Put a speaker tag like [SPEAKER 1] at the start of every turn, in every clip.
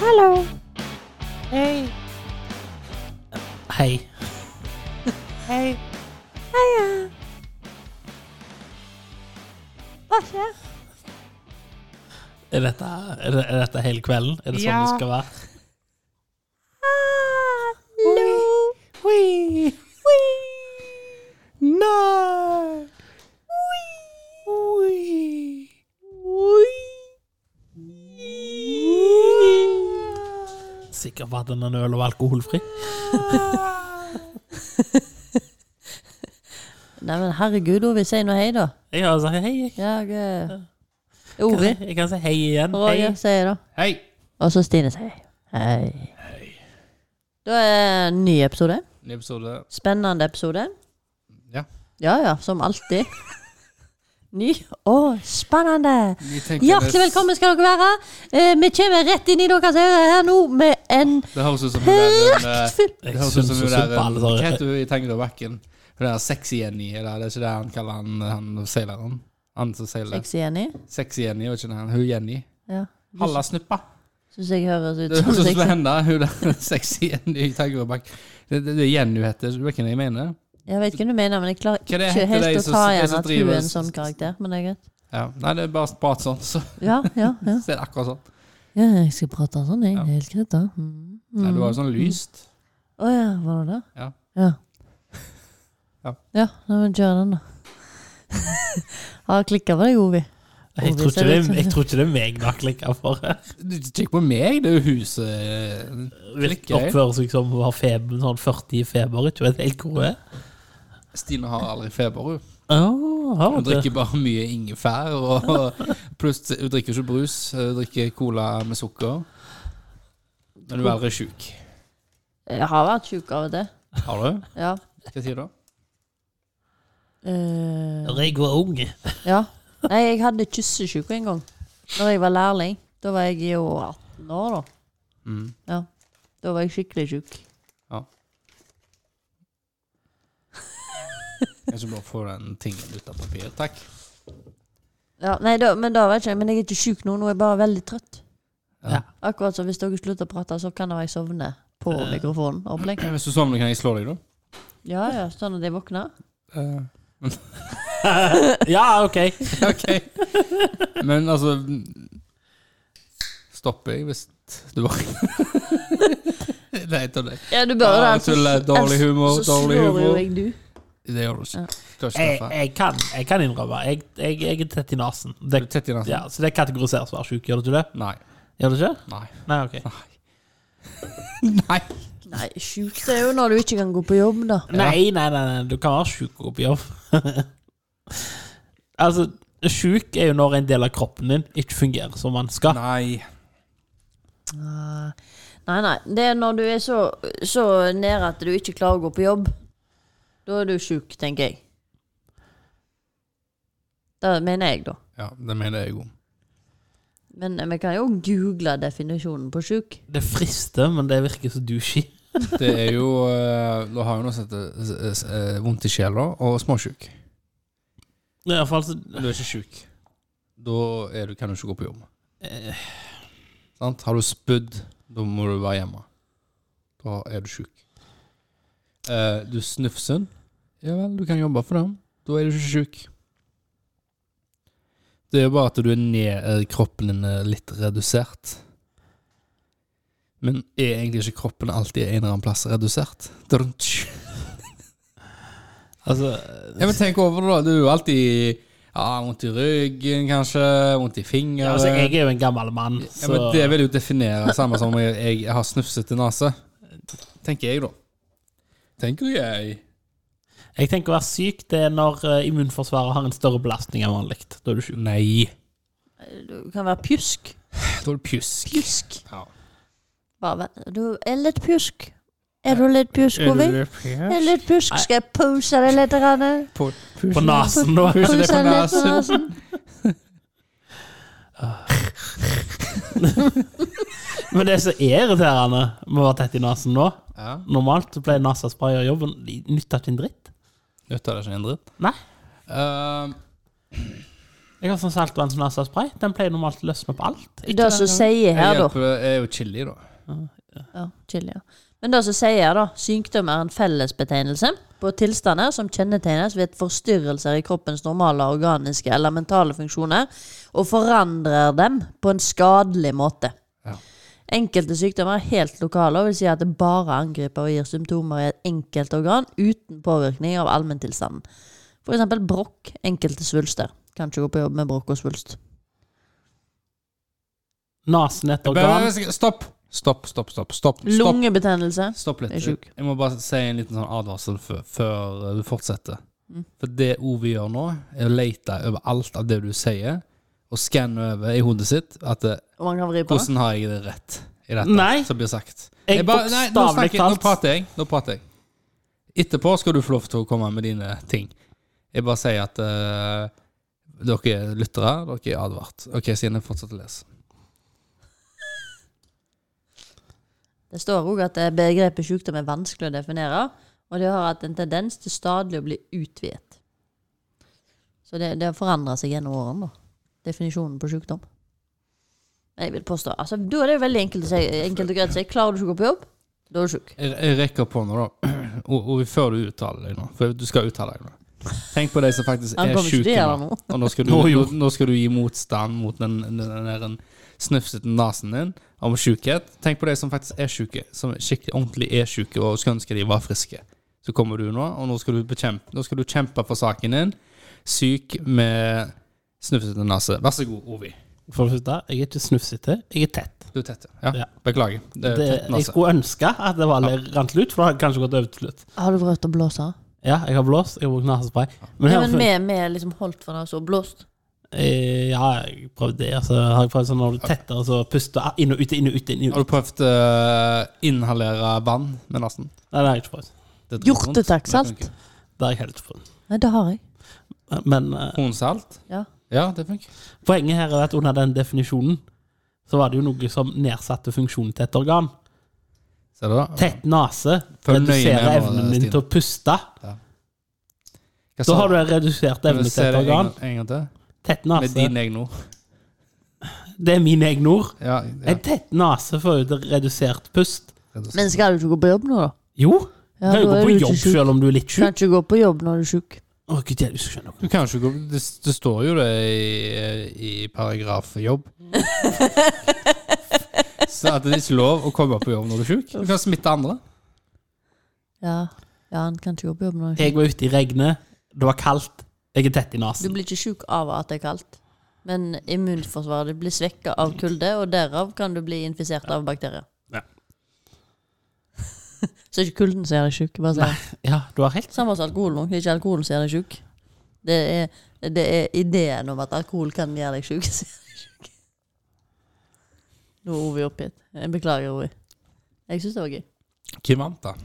[SPEAKER 1] Hallo.
[SPEAKER 2] Hei.
[SPEAKER 3] Hei.
[SPEAKER 2] Hei.
[SPEAKER 1] Heia. Hva skjer?
[SPEAKER 3] Er dette, er det- er dette hele kvelden? Er det sånn
[SPEAKER 2] Ja.
[SPEAKER 3] det skal være?
[SPEAKER 1] Hallo.
[SPEAKER 2] Hui. Nei. Hui.
[SPEAKER 3] Sikker på at den er øl- og alkoholfri?
[SPEAKER 1] Nei, men herregud, Ovi, si nå hei, da.
[SPEAKER 3] Jeg har sagt hei. jeg.
[SPEAKER 1] Jeg eh,
[SPEAKER 3] Kan
[SPEAKER 1] Ovi.
[SPEAKER 3] si- Jeg kan si hei igjen.
[SPEAKER 1] Roger
[SPEAKER 3] Hei.
[SPEAKER 1] sier da.
[SPEAKER 3] Hei.
[SPEAKER 1] Og så Stine sier hei. Da er en ny episode.
[SPEAKER 4] Ny episode.
[SPEAKER 1] Spennende episode.
[SPEAKER 4] Ja.
[SPEAKER 1] Ja ja, som alltid. Ny og spennende.
[SPEAKER 4] Vi tenker
[SPEAKER 1] Hjertelig
[SPEAKER 4] det-
[SPEAKER 1] velkommen skal dere være. Eh, vi kommer rett inn i deres ører her nå med en
[SPEAKER 4] Det høres ut som hun er en eh,
[SPEAKER 1] praktfull
[SPEAKER 4] Det
[SPEAKER 3] Jeg
[SPEAKER 4] høres ut
[SPEAKER 3] syns
[SPEAKER 4] som
[SPEAKER 3] så
[SPEAKER 4] hun
[SPEAKER 3] synd på
[SPEAKER 4] er en
[SPEAKER 3] alle
[SPEAKER 4] Hva
[SPEAKER 3] dere.
[SPEAKER 4] heter hun i Tango the Wacken? Hun der sexy-Jenny, eller det er ikke det han kaller han, han seileren? Han som seiler.
[SPEAKER 1] Sexy Jenny.
[SPEAKER 4] Sexy-Jenny, og ikke den hun Jenny.
[SPEAKER 1] Ja.
[SPEAKER 4] Halla, snuppa!
[SPEAKER 1] Syns jeg høres ut
[SPEAKER 4] Det
[SPEAKER 1] som
[SPEAKER 4] høres ut som
[SPEAKER 1] sexy.
[SPEAKER 4] henne, hun der sexy-Jenny i Tango the Wacken. Det, det, det er Jenny hun heter, vet du hva jeg mener?
[SPEAKER 1] Jeg vet ikke hva du mener, men jeg klarer
[SPEAKER 4] Hva det
[SPEAKER 1] ikke
[SPEAKER 4] heter de
[SPEAKER 1] helt å
[SPEAKER 4] som-
[SPEAKER 1] ta
[SPEAKER 4] de
[SPEAKER 1] igjen
[SPEAKER 4] som
[SPEAKER 1] at hun er
[SPEAKER 4] driver-
[SPEAKER 1] en sånn karakter. Men det er greit.
[SPEAKER 4] Ja. Nei, det er bare prat sånn, så,
[SPEAKER 1] Ja, ja, ja.
[SPEAKER 4] så er det akkurat sånn.
[SPEAKER 1] ja jeg skal prate sånn, jeg.
[SPEAKER 4] Ja.
[SPEAKER 1] Det er Helt greit, da. Mm.
[SPEAKER 4] Nei, det var jo sånn lyst.
[SPEAKER 1] Å ja, var det det?
[SPEAKER 4] Ja.
[SPEAKER 1] Ja.
[SPEAKER 4] Ja.
[SPEAKER 1] ja nei, men kjør den, da. Har klikka på deg, Ovi.
[SPEAKER 3] Jeg tror ikke det er- jeg tror ikke det er meg det har klikka for.
[SPEAKER 1] Mm.
[SPEAKER 4] Du, Kikk på meg, det er jo huset eh, Klikker jeg?
[SPEAKER 3] Oppfører seg som hun har feber, sånn 40 i feber. Ikke vet helt hvor hun er.
[SPEAKER 4] Stine har aldri feber, hun.
[SPEAKER 3] Oh, har
[SPEAKER 4] Hun
[SPEAKER 3] hun det?
[SPEAKER 4] drikker bare mye ingefær. Og, og pluss, hun drikker ikke brus, hun drikker cola med sukker. Men du er aldri sjuk.
[SPEAKER 1] Jeg har vært sjuk av det.
[SPEAKER 4] Har du?
[SPEAKER 1] Ja.
[SPEAKER 4] Hva sier du? da?
[SPEAKER 1] Eh,
[SPEAKER 3] Når jeg var ung.
[SPEAKER 1] ja. Nei, jeg hadde kyssesjuke en gang. Når jeg var lærling. Da var jeg jo 18 år, da.
[SPEAKER 4] Mm.
[SPEAKER 1] Ja. Da var jeg skikkelig sjuk.
[SPEAKER 4] Jeg skal bare få den tingen ut av papir. Takk.
[SPEAKER 1] Ja, nei, da, men da var jeg ikke Men jeg er ikke sjuk nå. Nå er jeg bare veldig trøtt.
[SPEAKER 4] Ja.
[SPEAKER 1] Akkurat som hvis dere slutter å prate, så kan jeg sovne på mikrofonen. Opplegg.
[SPEAKER 4] Hvis du sovner, kan jeg slå deg, da?
[SPEAKER 1] Ja, ja, sånn at jeg våkner.
[SPEAKER 3] Ja, OK.
[SPEAKER 4] OK. Men altså Stopper jeg hvis du var Nei, tuller.
[SPEAKER 1] Ja, du bør
[SPEAKER 4] Ja,
[SPEAKER 1] det.
[SPEAKER 4] jeg tuller. Dårlig humor,
[SPEAKER 1] ellers så
[SPEAKER 4] dårlig
[SPEAKER 1] slår
[SPEAKER 4] humor.
[SPEAKER 1] jo jeg du.
[SPEAKER 4] Det gjør du ikke. Du har ikke
[SPEAKER 3] Jeg,
[SPEAKER 4] treffet.
[SPEAKER 3] jeg, kan, jeg kan innrømme. Jeg, jeg, jeg er tett i nesen.
[SPEAKER 4] Er
[SPEAKER 3] Det,
[SPEAKER 4] du tett i nesen?
[SPEAKER 3] ja, så det kategoriseres som å være sjuk, gjør det ikke det?
[SPEAKER 4] Nei.
[SPEAKER 3] Gjør det ikke?
[SPEAKER 4] Nei.
[SPEAKER 3] Nei, ok.
[SPEAKER 4] Nei.
[SPEAKER 1] Nei, sjukt er jo når du ikke kan gå på jobb, da.
[SPEAKER 3] Nei, nei, nei, nei. du kan være sjuk og gå på jobb. altså, sjuk er jo når en del av kroppen din ikke fungerer som man skal.
[SPEAKER 4] Nei.
[SPEAKER 1] Ah. Nei, nei. Det er når du er så, så nær at du ikke klarer å gå på jobb. Da er du sjuk, tenker jeg. Det mener jeg, da.
[SPEAKER 4] Ja, det mener jeg òg.
[SPEAKER 1] Men eh, vi kan jo google definisjonen på sjuk.
[SPEAKER 3] Det frister, men det virker så douchey.
[SPEAKER 4] Det er jo eh, Da har jo noe som heter s- s- eh, vondt i sjela og småsjuk.
[SPEAKER 3] I hvert fall så
[SPEAKER 4] Du er ikke sjuk. Da er du, kan du ikke gå på jobb. Eh. Sant? Har du spydd, da må du være hjemme. Da er du sjuk. Eh, du snufsen. Ja vel, du kan jobbe for dem. Da er du ikke sjuk. Det er jo bare at du er ned, eh, kroppen din er litt redusert. Men er egentlig ikke kroppen alltid en eller annen plass redusert? Drunch.
[SPEAKER 3] Altså,
[SPEAKER 4] Ja, men tenk over det, da. Du er jo alltid ja, vondt i ryggen, kanskje. Vondt i fingeren.
[SPEAKER 3] ja, altså, jeg er jo en gammel mann,
[SPEAKER 4] ja,
[SPEAKER 3] så
[SPEAKER 4] men det vil jo definere samme som jeg, jeg har snufsete nese. Tenker jeg, da. Tenker jeg.
[SPEAKER 3] Jeg tenker å være syk det er når eh, immunforsvaret har en større belastning enn vanlig. Da er du syk.
[SPEAKER 4] Nei.
[SPEAKER 1] Du kan være pjusk.
[SPEAKER 4] Da er du pjusk.
[SPEAKER 1] Pjusk.
[SPEAKER 4] Ja.
[SPEAKER 1] Bare, vent. du er litt pjusk. Er du litt pjusk, Ovi? Er du litt pjusk? Skal jeg pose deg litt? grann?
[SPEAKER 3] På nesen, da.
[SPEAKER 4] Puse deg på
[SPEAKER 1] Pose litt på
[SPEAKER 4] nesen.
[SPEAKER 1] nesen.
[SPEAKER 3] Men det som er irriterende med å være tett i nesen nå
[SPEAKER 4] Ja.
[SPEAKER 3] Normalt så pleier nesespray å gjøre jobben. De nytter ikke en dritt.
[SPEAKER 4] Eh, Nytter det ikke en dritt?
[SPEAKER 3] Nei.
[SPEAKER 4] Ehm,
[SPEAKER 3] Jeg har sånn saltvannsnasaspray. Den pleier normalt å løsne opp alt. Ikke
[SPEAKER 1] Det som
[SPEAKER 3] den-
[SPEAKER 1] sier
[SPEAKER 4] Jeg
[SPEAKER 1] her, da
[SPEAKER 4] hjelper, jeg er jo chili, da.
[SPEAKER 1] Ja, chili, ja. Men det som sier her, da, sykdom er en fellesbetegnelse på tilstander som kjennetegnes ved forstyrrelser i kroppens normale organiske eller mentale funksjoner, og forandrer dem på en skadelig måte.
[SPEAKER 4] Ja.
[SPEAKER 1] Enkelte sykdommer er helt lokale, og vil si at det bare angriper og gir symptomer i et enkelt organ uten påvirkning av allmenntilstanden. For eksempel brokk, enkelte svulster. Kan ikke gå på jobb med brokk og svulst.
[SPEAKER 3] Nesen er et organ.
[SPEAKER 4] Men- men- Stopp! Stopp, stopp, stopp. stopp, stopp.
[SPEAKER 1] Lungebetennelse.
[SPEAKER 4] Stopp litt.
[SPEAKER 1] Jeg er sjuk.
[SPEAKER 4] Jeg må bare si en liten sånn advarsel før, før du fortsetter.
[SPEAKER 3] Mm.
[SPEAKER 4] For det O vi gjør nå, er å lete over alt av det du sier, og skanne over i hodet sitt at det,
[SPEAKER 1] Og man kan vri på det.
[SPEAKER 4] hvordan har jeg det rett i dette
[SPEAKER 3] Nei.
[SPEAKER 4] som blir sagt.
[SPEAKER 3] Jeg
[SPEAKER 4] Jeg bare- nei, nå,
[SPEAKER 3] bokstavelig
[SPEAKER 4] snakker, jeg- nå
[SPEAKER 3] talt-
[SPEAKER 4] prater jeg. Nå prater jeg. Etterpå skal du få lov til å komme med dine ting. Jeg bare sier at eh, dere lyttere, dere er advart. Ok, siden jeg fortsetter å lese.
[SPEAKER 1] Det står òg at eh, begrepet sykdom er vanskelig å definere, og det har hatt en tendens til stadig å bli utvidet. Så det, det har forandra seg gjennom årene, da. Definisjonen på sykdom. Jeg vil påstå altså, Da er det jo veldig enkelt, å si, enkelt og greit å si klarer du ikke å gå på jobb, da er du syk.
[SPEAKER 4] Jeg, jeg rekker på nå, da. Og, og før du uttaler deg nå. For du skal uttale deg nå. Tenk på de som faktisk
[SPEAKER 1] Han
[SPEAKER 4] er
[SPEAKER 1] kommer ikke til å
[SPEAKER 4] sjuke
[SPEAKER 1] gjøre
[SPEAKER 4] nå.
[SPEAKER 1] noe.
[SPEAKER 4] Og nå skal du,
[SPEAKER 3] Nå, jo.
[SPEAKER 4] nå, nå skal du gi motstand mot den, den, den, der en snufsete nesen din om sjukhet. Tenk på de som faktisk er sjuke, som skikkelig ordentlig er sjuke og skulle ønske de var friske. Så kommer du nå, og nå skal du, bekjempe, nå skal du kjempe for saken din. Syk med snufsete nese. Vær så god, Ovi.
[SPEAKER 3] For det første, jeg er ikke snufsete, jeg er tett.
[SPEAKER 4] Du er tett. Ja,
[SPEAKER 3] Ja.
[SPEAKER 4] beklager. Det er
[SPEAKER 3] Det,
[SPEAKER 4] tett
[SPEAKER 3] jeg
[SPEAKER 4] nese.
[SPEAKER 3] skulle ønske at det var rant ut, for det hadde kanskje gått over til slutt.
[SPEAKER 1] Har du prøvd å blåse?
[SPEAKER 3] Ja, jeg har blåst, jeg har brukt nesespray. Men
[SPEAKER 1] Nei,
[SPEAKER 3] her,
[SPEAKER 1] men vi vi er liksom holdt for det, og så blåst.
[SPEAKER 3] Eh, ja, jeg prøvde det. Altså, har jeg prøvd sånn når du tetter, og så puster inn og ut, inn og ut, inn og ut.
[SPEAKER 4] Har du prøvd å inhalere vann med nesen?
[SPEAKER 3] Nei, det har jeg ikke prøvd.
[SPEAKER 4] Det er vondt.
[SPEAKER 1] Hjortetakksalt?
[SPEAKER 4] Det funker.
[SPEAKER 3] Det har jeg heller ikke prøvd.
[SPEAKER 1] Nei, det har jeg.
[SPEAKER 3] Men eh,
[SPEAKER 4] Hornsalt?
[SPEAKER 1] Ja.
[SPEAKER 4] Ja, det funker.
[SPEAKER 3] poenget her er at under den definisjonen så var det jo noe som nedsatte funksjonen til et organ.
[SPEAKER 4] Ser du det?
[SPEAKER 3] Tett nese
[SPEAKER 4] Følg nøye
[SPEAKER 3] reduserer
[SPEAKER 4] med nå,
[SPEAKER 3] evnen din
[SPEAKER 4] Stine.
[SPEAKER 3] til å puste.
[SPEAKER 4] Hva
[SPEAKER 3] Da har du en redusert evne til et organ.
[SPEAKER 4] En, en gang til.
[SPEAKER 3] Tett
[SPEAKER 4] Med
[SPEAKER 3] nese.
[SPEAKER 4] dine egne ord.
[SPEAKER 3] Det er mine egne ord.
[SPEAKER 4] Ja, ja.
[SPEAKER 3] En tett nese får jo til redusert pust.
[SPEAKER 1] Men skal du ikke gå på jobb nå, da?
[SPEAKER 3] Jo. du
[SPEAKER 1] Ja,
[SPEAKER 3] kan jo gå
[SPEAKER 1] da er
[SPEAKER 3] på
[SPEAKER 1] du ikke
[SPEAKER 3] jobb
[SPEAKER 1] syk.
[SPEAKER 3] selv om du er litt
[SPEAKER 1] Kan
[SPEAKER 3] sjuk.
[SPEAKER 1] ikke gå på jobb når du er sjuk.
[SPEAKER 3] Å, gud, jeg skjønner
[SPEAKER 4] Du kan ikke gå det, det står jo det i, i paragraf jobb. Så at det er ikke lov å komme på jobb når du er sjuk. Du kan smitte andre.
[SPEAKER 1] Ja. ja, han kan ikke gå på jobb når du er sjuk.
[SPEAKER 3] Jeg var ute i regnet, det var kaldt, jeg er tett i
[SPEAKER 1] Du
[SPEAKER 3] nesen.
[SPEAKER 1] blir ikke sjuk av at det er kaldt, men immunforsvaret ditt blir svekka av kulde, og derav kan du bli infisert av bakterier.
[SPEAKER 3] Ja.
[SPEAKER 1] Så det er ikke kulden som gjør deg sjuk. bare si.
[SPEAKER 3] Ja, du har helt
[SPEAKER 1] Samme som alkoholen. også. Det er ikke alkoholen som gjør deg sjuk. Det er, det er ideen om at alkohol kan gjøre deg sjuk. som gjør deg sjuk. Nå er Ovi oppgitt. Jeg beklager, Ovi. Jeg syns det var gøy.
[SPEAKER 4] Hvem vant, da?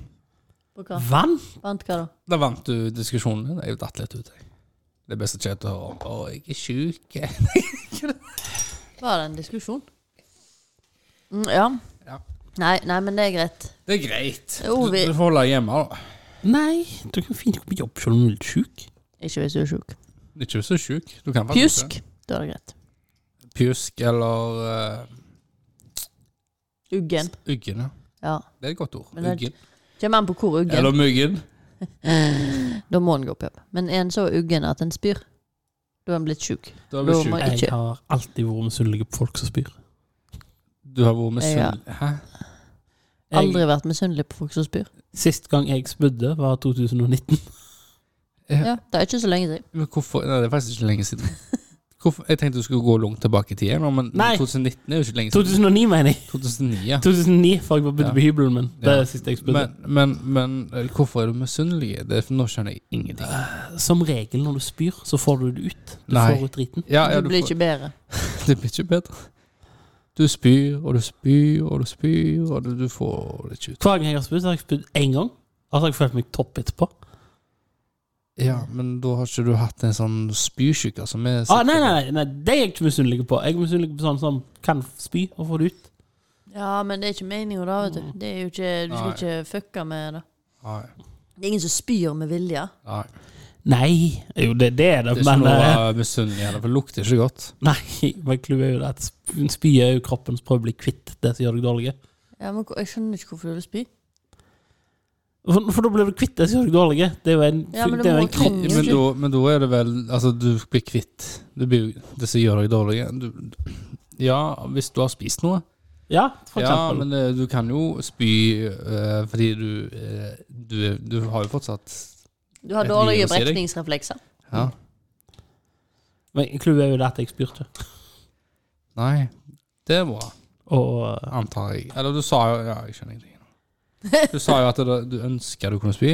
[SPEAKER 1] På hva?
[SPEAKER 3] Vann?
[SPEAKER 1] Vant hva da?
[SPEAKER 4] Da vant du diskusjonen din. Jeg datt litt ut, jeg. Det er best å kjede å høre om. Å, jeg er sjuk.
[SPEAKER 1] Var det en diskusjon? Mm, ja.
[SPEAKER 4] Ja.
[SPEAKER 1] Nei, nei, men det er greit.
[SPEAKER 4] Det er greit. Du,
[SPEAKER 1] Jo, vi-
[SPEAKER 4] du får holde deg hjemme, da.
[SPEAKER 3] Nei, du kan fint gå på jobb selv om du er litt sjuk.
[SPEAKER 1] Ikke hvis du er sjuk.
[SPEAKER 4] Ikke hvis du er sjuk. Du kan faktisk det.
[SPEAKER 1] Pjusk. Da er det greit.
[SPEAKER 4] Pjusk eller eh,
[SPEAKER 1] Uggen.
[SPEAKER 4] Uggen, ja.
[SPEAKER 1] Ja.
[SPEAKER 4] Det er et godt ord.
[SPEAKER 1] Men det er-
[SPEAKER 4] Uggen.
[SPEAKER 1] Kjem an på hvor uggen. Eh,
[SPEAKER 4] Eller myggen.
[SPEAKER 1] Da må en gå på jobb. Men er en så uggen at en spyr, da er en blitt sjuk.
[SPEAKER 4] Da
[SPEAKER 1] Da
[SPEAKER 4] blir du sjuk.
[SPEAKER 1] må-
[SPEAKER 3] Jeg
[SPEAKER 1] Ikke.
[SPEAKER 3] har alltid vært misunnelig på folk som spyr.
[SPEAKER 4] Du har vært misunnelig. Hæ?
[SPEAKER 1] Aldri
[SPEAKER 3] Jeg,
[SPEAKER 1] vært misunnelig på folk som spyr.
[SPEAKER 3] sist gang jeg spydde, var 2019.
[SPEAKER 1] Ja, Det er ikke så lenge siden.
[SPEAKER 4] Men hvorfor Nei, det er faktisk ikke lenge siden. Hvorfor? Jeg tenkte du skulle gå langt tilbake i tid, nå, men
[SPEAKER 3] Nei.
[SPEAKER 4] 2019 er jo ikke lenge siden.
[SPEAKER 3] 2009, mener jeg.
[SPEAKER 4] 2009, ja.
[SPEAKER 3] 2009, for jeg var bydde
[SPEAKER 4] Ja.
[SPEAKER 3] på hybelen min. Det
[SPEAKER 4] Ja.
[SPEAKER 3] er sist jeg spydde.
[SPEAKER 4] Men, men, men eh, hvorfor er du misunnelig? Det er- for Nå skjønner jeg ingenting.
[SPEAKER 3] Som regel når du spyr, så får du det ut. Du
[SPEAKER 4] Nei.
[SPEAKER 3] får ut driten.
[SPEAKER 4] Ja, ja,
[SPEAKER 1] Du
[SPEAKER 4] du
[SPEAKER 1] blir
[SPEAKER 4] får-
[SPEAKER 1] ikke bedre.
[SPEAKER 4] det blir ikke bedre. Du spyr og du spyr og du spyr, og du, du får det ikke ut.
[SPEAKER 3] Hver gang jeg har spydd, så har jeg spydd én gang. Og så har jeg følt meg topp etterpå.
[SPEAKER 4] Ja, men da har ikke du hatt en sånn spysjuke som er
[SPEAKER 3] Ah, nei, nei, nei, nei, det er jeg ikke misunnelig på. Jeg er misunnelig på sånne som kan spy og få det ut.
[SPEAKER 1] Ja, men det er ikke meninga, da. vet Du Det er jo ikke, du skal
[SPEAKER 4] Nei.
[SPEAKER 1] ikke fucke med det.
[SPEAKER 4] Nei.
[SPEAKER 1] Det er ingen som spyr med vilje.
[SPEAKER 4] Nei.
[SPEAKER 3] Nei, jo, det, det er det,
[SPEAKER 4] Det er ikke
[SPEAKER 3] men
[SPEAKER 4] noe å
[SPEAKER 3] eh,
[SPEAKER 4] være misunnelig heller, for det lukter ikke godt.
[SPEAKER 3] Nei, men clouet er jo det at sp- spy er jo kroppen som prøver å bli kvitt det som gjør deg dårlig.
[SPEAKER 1] Ja, men Jeg skjønner ikke hvorfor du vil spy.
[SPEAKER 3] For, for da blir du kvitt det som gjør deg dårlig. Det er jo en,
[SPEAKER 1] Ja, men
[SPEAKER 3] det er
[SPEAKER 1] du
[SPEAKER 3] jo
[SPEAKER 1] må
[SPEAKER 3] en kropp.
[SPEAKER 1] trenge-
[SPEAKER 4] Men da, men da er det vel Altså, du blir kvitt du blir, det som gjør deg dårlig. Du, ja, hvis du har spist noe.
[SPEAKER 3] Ja, for
[SPEAKER 4] Ja,
[SPEAKER 3] eksempel.
[SPEAKER 4] men eh, du kan jo spy eh, fordi du, eh, du Du har jo fortsatt
[SPEAKER 1] Du har
[SPEAKER 4] Jeg
[SPEAKER 1] dårlige
[SPEAKER 4] liker å se deg.
[SPEAKER 1] brekningsreflekser.
[SPEAKER 4] Ja.
[SPEAKER 3] Mm. Men clouet er jo det at jeg spyrte.
[SPEAKER 4] Nei, det er bra,
[SPEAKER 3] Og
[SPEAKER 4] antar jeg. Eller du sa jo Ja, jeg skjønner ingenting. nå. Du sa jo at det, du ønsker du kunne spy.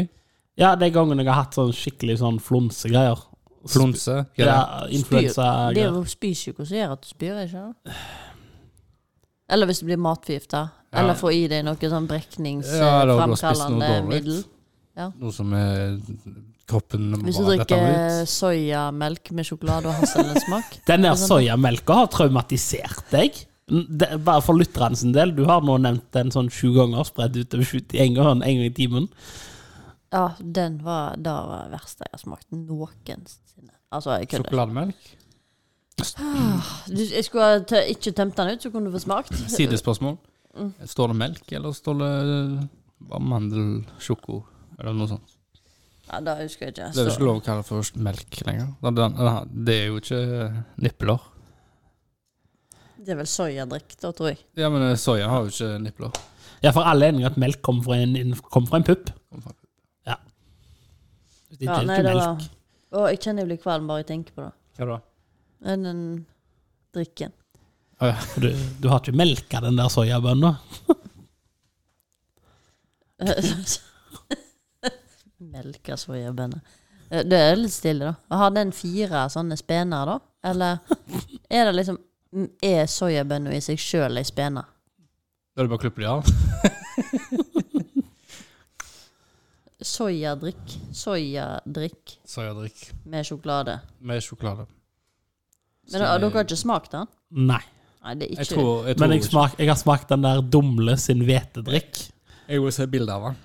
[SPEAKER 3] ja, de gangene jeg har hatt sånn skikkelig sånn flonsegreier.
[SPEAKER 4] Flonse. hva er det?
[SPEAKER 3] Ja,
[SPEAKER 1] Det er
[SPEAKER 3] influensagreier.
[SPEAKER 1] jo spysyke som gjør at du spyr, ikke sant? Eller hvis du blir matforgifta.
[SPEAKER 4] Ja.
[SPEAKER 1] Eller får i deg noe sånn
[SPEAKER 4] Ja, eller du har spist noe
[SPEAKER 1] brekningsframkallende
[SPEAKER 4] dårlig.
[SPEAKER 1] middel.
[SPEAKER 4] Noe som er kroppen
[SPEAKER 1] Hvis du
[SPEAKER 4] bare detter
[SPEAKER 1] drikker eh,
[SPEAKER 4] ut.
[SPEAKER 1] soyamelk med sjokolade og hasselnøttsmak.
[SPEAKER 3] Den der
[SPEAKER 1] Sånn.
[SPEAKER 3] soyamelka har traumatisert deg. Det, bare for lytterne sin del, du har nå nevnt den sånn sju ganger, spredt utover sju en gang, en gang i timen.
[SPEAKER 1] Ja, den var det var det verste jeg har smakt noensinne. Altså, jeg kødder.
[SPEAKER 4] Sjokolademelk?
[SPEAKER 1] Du, jeg skulle ha tø- ikke tømt den ut, så kunne du få smakt.
[SPEAKER 4] Sidespørsmål.
[SPEAKER 1] Mm.
[SPEAKER 4] Står det melk, eller står det eh, mandelsjoko? Eller noe sånt.
[SPEAKER 1] Ja, det husker jeg ikke.
[SPEAKER 4] Det er jo
[SPEAKER 1] Så-
[SPEAKER 4] ikke lov å kalle det for melk lenger. Den- den- Det er jo ikke eh, nipler.
[SPEAKER 1] Det er vel soyadrikk, da, tror jeg.
[SPEAKER 4] Ja, men eh, soya har jo ikke nipler.
[SPEAKER 3] Ja, for alle er enige at melk kommer fra en, en- kom fra en pupp. Ja. Det er
[SPEAKER 1] Ja,
[SPEAKER 3] ikke
[SPEAKER 1] nei, det var...
[SPEAKER 3] melk.
[SPEAKER 1] Å, jeg kjenner jeg blir kvalm bare jeg tenker på det.
[SPEAKER 4] Hva da?
[SPEAKER 1] Men den drikken.
[SPEAKER 3] For Du, du har ikke melka den der soyabønna.
[SPEAKER 1] Melka soyabønner. altså, Eh, Det er litt stille, da. Har den fire sånne spener, da? Eller er det liksom mm, Er soyabønna i seg sjøl ei spene?
[SPEAKER 4] Da er det bare å klippe de av.
[SPEAKER 1] Soyadrikk. Soyadrikk
[SPEAKER 4] Soyadrikk
[SPEAKER 1] med sjokolade.
[SPEAKER 4] med sjokolade.
[SPEAKER 1] Men da, dere har ikke smakt den?
[SPEAKER 3] Nei.
[SPEAKER 1] Nei, det er
[SPEAKER 4] Jeg
[SPEAKER 1] ikke
[SPEAKER 4] tror, jeg tror
[SPEAKER 3] Men jeg,
[SPEAKER 4] ikke-
[SPEAKER 3] smak, jeg har smakt den der Dumle sin hvetedrikk.
[SPEAKER 4] Jeg vil se bilde av den.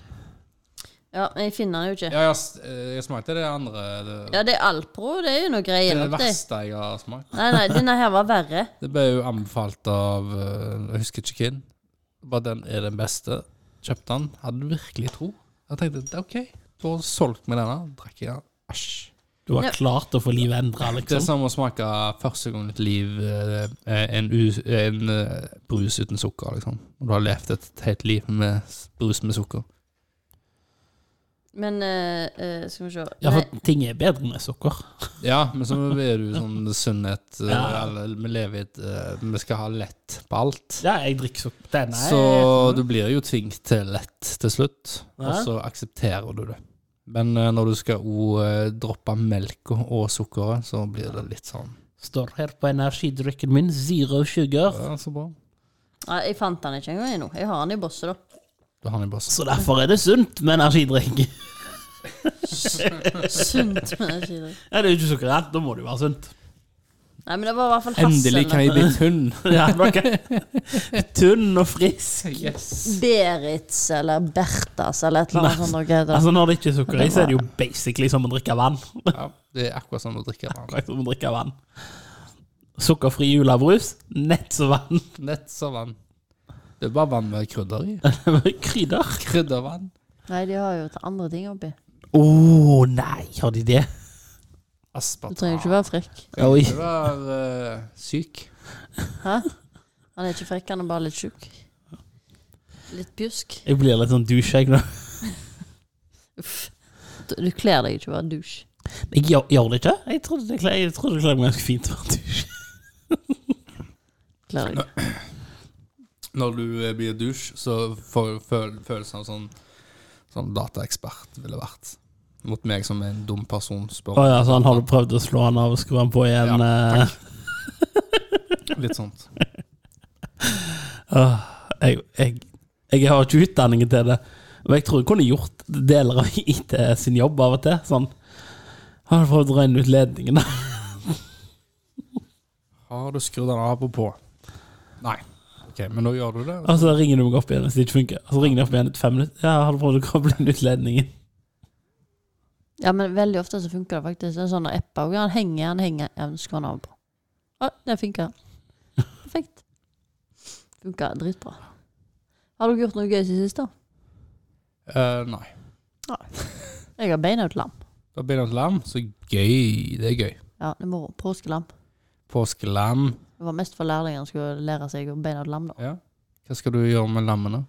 [SPEAKER 1] Ja, men jeg finner den jo ikke.
[SPEAKER 4] Ja, jeg, har s- eh, jeg smakte det andre Det,
[SPEAKER 1] Ja, det er Alpro. Det er jo noe greier
[SPEAKER 4] det er det
[SPEAKER 1] nok, det.
[SPEAKER 4] verste jeg har smakt.
[SPEAKER 1] Nei, nei, denne her var verre.
[SPEAKER 4] Det ble jo anbefalt av eh, Jeg husker ikke hvem. Bare den er den beste. Kjøpte den. Hadde virkelig tro. Jeg tenkte det er OK, du har solgt meg denne. Drakk jeg den. Æsj.
[SPEAKER 3] Du har
[SPEAKER 1] Ja.
[SPEAKER 3] klart å få livet endra,
[SPEAKER 4] Det er
[SPEAKER 3] liksom.
[SPEAKER 4] som å smake første gang i ditt liv eh, en, u- en eh, brus uten sukker, liksom. Og du har levd et helt liv med s- brus med sukker.
[SPEAKER 1] Men eh, eh, skal vi se
[SPEAKER 3] Ja,
[SPEAKER 1] Nei,
[SPEAKER 3] for ting er bedre med sukker.
[SPEAKER 4] Ja, men så er du sånn sunnhet eh,
[SPEAKER 3] Ja.
[SPEAKER 4] eller Vi lever i et eh, Vi skal ha lett på alt.
[SPEAKER 3] Ja, jeg drikker sukker. Den er
[SPEAKER 4] Så du blir jo tvunget til lett til slutt, og
[SPEAKER 3] Ja.
[SPEAKER 4] så aksepterer du det. Men eh, når du skal òg droppe melka og sukkeret, så blir det litt sånn
[SPEAKER 3] Står her på energidrikken min, zero sugar.
[SPEAKER 4] Ja, så bra.
[SPEAKER 1] nei, jeg fant den ikke engang ennå. Jeg har den i bosset, da.
[SPEAKER 4] Du har den i bossen.
[SPEAKER 3] Så derfor er det sunt med energidrikk.
[SPEAKER 1] Sunt, men jeg sier det.
[SPEAKER 3] Ja, det er jo ikke sukkerrett, da må det jo være sunt.
[SPEAKER 1] Nei, men det var i hvert fall
[SPEAKER 4] Endelig kan jeg bli tynn!
[SPEAKER 3] Ja, okay. Tynn og frisk.
[SPEAKER 4] Yes.
[SPEAKER 1] Beritz eller Berthas eller et eller annet sånt. noe heter det.
[SPEAKER 3] Altså, når det ikke er sukker i, så er det jo basically som å drikke vann.
[SPEAKER 4] Ja, det er akkurat som å drikke vann.
[SPEAKER 3] Akkurat som å drikke vann. Sukkerfri julebrus, nett som vann.
[SPEAKER 4] Nett som vann. Det er bare vann med krydder i.
[SPEAKER 3] Krydder.
[SPEAKER 4] Kryddervann.
[SPEAKER 1] Nei, de har jo til andre ting oppi.
[SPEAKER 3] Å nei, har de det?
[SPEAKER 1] Du
[SPEAKER 4] Aspartam.
[SPEAKER 1] trenger ikke være frekk.
[SPEAKER 3] Oi.
[SPEAKER 4] Du er eh, syk.
[SPEAKER 1] Hæ? Han er ikke frekk, han er bare litt sjuk. Litt pjusk.
[SPEAKER 3] Jeg blir litt sånn douche, jeg nå.
[SPEAKER 1] Uff. Du du kler deg ikke å være douche.
[SPEAKER 3] Jeg gjør, gjør det ikke. Jeg trodde det kle- jeg trodde det kledde meg ganske fint å være douche.
[SPEAKER 1] Kler deg.
[SPEAKER 4] Når du eh, blir dusj, så får du føl følelsen av sånn Sånn dataekspert ville vært. Mot meg som er en dum person,
[SPEAKER 3] Å
[SPEAKER 4] spør.
[SPEAKER 3] ja, så han hadde prøvd å slå han av og skru han på igjen. eh,
[SPEAKER 4] Litt sånt.
[SPEAKER 3] Åh, jeg, jeg, jeg har ikke utdanningen til det, men jeg tror jeg kunne gjort deler av IT sin jobb av og til. Sånn. Har du prøvd å regne ut ledningene?
[SPEAKER 4] Har du skrudd den av og på? Nei. Ok, Men da gjør du det.
[SPEAKER 3] Og så ringer du meg opp igjen hvis det ikke funker. Og så ringer de opp igjen etter fem minutter. Ja, har du prøvd å koble inn ut ledningen?
[SPEAKER 1] Ja, men veldig ofte så funker det faktisk. Det er sånn apper og han henger, han henger, ja, så skrur han av på. Å, det funker. Perfekt. Funker dritbra. Har dere gjort noe gøy siden sist, da?
[SPEAKER 4] Eh, nei.
[SPEAKER 1] Jeg har beina ut lam.
[SPEAKER 4] Da blir det et lam. Så gøy. Det er gøy.
[SPEAKER 1] Ja, det er moro. Påskelam.
[SPEAKER 4] Påskelam.
[SPEAKER 1] Det var mest for lærlingene skulle lære seg å beina ut lam, da.
[SPEAKER 4] Ja. Hva skal du gjøre med lammene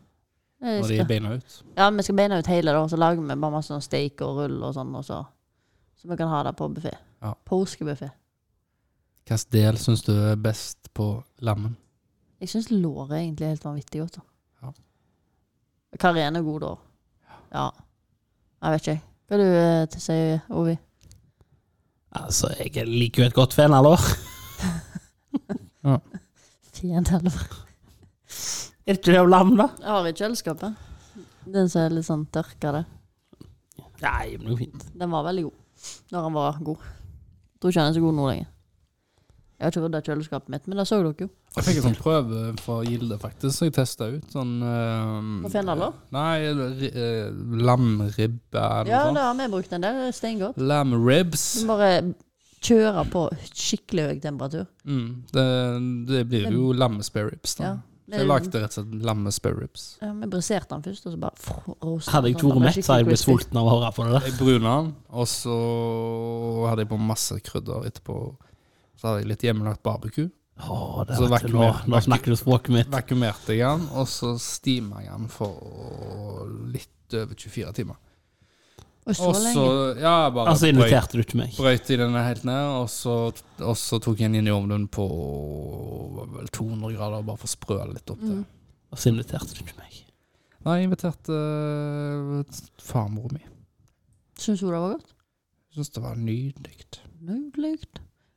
[SPEAKER 1] Jeg
[SPEAKER 4] når de er
[SPEAKER 1] Skal,
[SPEAKER 4] beina ut?
[SPEAKER 1] ja, vi skal beina ut hele, da. Så lager vi bare masse sånn steik og rull og sånn, og så. Så vi kan ha det på buffé.
[SPEAKER 4] Ja.
[SPEAKER 1] Påskebuffé.
[SPEAKER 4] Hvilken del syns du er best på lammen?
[SPEAKER 1] Jeg syns låret egentlig er helt vanvittig godt. da.
[SPEAKER 4] Ja.
[SPEAKER 1] Karen er god, da. Ja. Jeg vet ikke. Hva du eh, til sier Ovi?
[SPEAKER 3] Altså, jeg liker jo et godt fenalår.
[SPEAKER 1] Fint helvete.
[SPEAKER 3] Er det ikke det om lam, da?
[SPEAKER 1] Jeg har i kjøleskapet. Den som er litt sånn tørka der.
[SPEAKER 3] Nei, men det er jo fint.
[SPEAKER 1] Den var veldig god. Når han var god. Tror ikke han er så god nå lenger. Jeg har ikke rydda kjøleskapet mitt, men det så dere jo.
[SPEAKER 4] Jeg fikk en sånn prøve fra Gilde, faktisk, så jeg testa ut. Sånn eh,
[SPEAKER 1] På fenalår?
[SPEAKER 4] Nei, ri- eh, lamribbe eller
[SPEAKER 1] Ja,
[SPEAKER 4] noe
[SPEAKER 1] det har vi brukt eh, en del. Det er steingodt.
[SPEAKER 4] sånt. Lamribs.
[SPEAKER 1] Du må bare kjøre på skikkelig høy temperatur.
[SPEAKER 4] Mm, det, det blir jo lammespareribs, da.
[SPEAKER 1] Ja.
[SPEAKER 4] Så jeg lagde rett og slett lammespareribs.
[SPEAKER 1] Ja, Vi briserte den først, og så bare roastet
[SPEAKER 3] Hadde jeg
[SPEAKER 1] den,
[SPEAKER 3] ikke vært
[SPEAKER 1] sånn at den ble
[SPEAKER 3] mett, så hadde jeg blitt
[SPEAKER 1] skikkelig crispy.
[SPEAKER 3] sulten av å høre på det der.
[SPEAKER 4] Jeg bruna den, og så hadde jeg på masse krydder etterpå. Så hadde jeg litt hjemmelagt barbecue.
[SPEAKER 3] Åh, det
[SPEAKER 4] Så
[SPEAKER 3] var ikke nå.
[SPEAKER 4] vakuumer-
[SPEAKER 3] Nå snakker du språket mitt.
[SPEAKER 4] Vakuumerte jeg den, og så stima jeg den for litt over 24 timer.
[SPEAKER 1] Og så
[SPEAKER 4] Og så
[SPEAKER 1] lenge.
[SPEAKER 4] ja, bare
[SPEAKER 3] Altså,
[SPEAKER 4] brøyt-
[SPEAKER 3] inviterte du ikke meg.
[SPEAKER 4] brøyt i denne helt ned, og så, og så tok jeg den inn i ovnen på vel 200 grader, bare for å sprø det litt opp
[SPEAKER 1] Mm.
[SPEAKER 4] til.
[SPEAKER 3] Og så inviterte du ikke meg.
[SPEAKER 4] Nei, jeg inviterte uh, farmor mi.
[SPEAKER 1] Syns hun det var godt?
[SPEAKER 4] Syns det var nydelig.
[SPEAKER 1] Nydelig.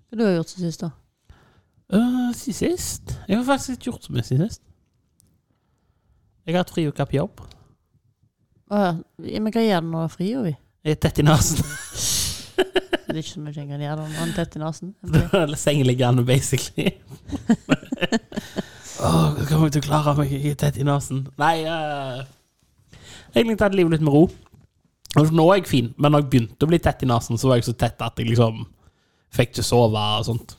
[SPEAKER 1] Hva du har gjort siden sist, da?
[SPEAKER 3] Øh, siden sist? Jeg har faktisk ikke gjort så mye siden sist. Jeg har hatt fri uke på jobb.
[SPEAKER 1] Å ja, men hva gjør du når du er fri, Ovi?
[SPEAKER 3] Jeg er tett i nesen.
[SPEAKER 1] Det er ikke så mye jeg kan gjøre når man er tett i nesen.
[SPEAKER 3] Eller sengeliggende, basically. Åh, hvordan kommer jeg til å klare meg? Jeg er tett i nesen. Nei eh, Egentlig tatt livet litt med ro. Og Nå er jeg fin, men når jeg begynte å bli tett i nesen, så var jeg så tett at jeg liksom fikk ikke sove og sånt.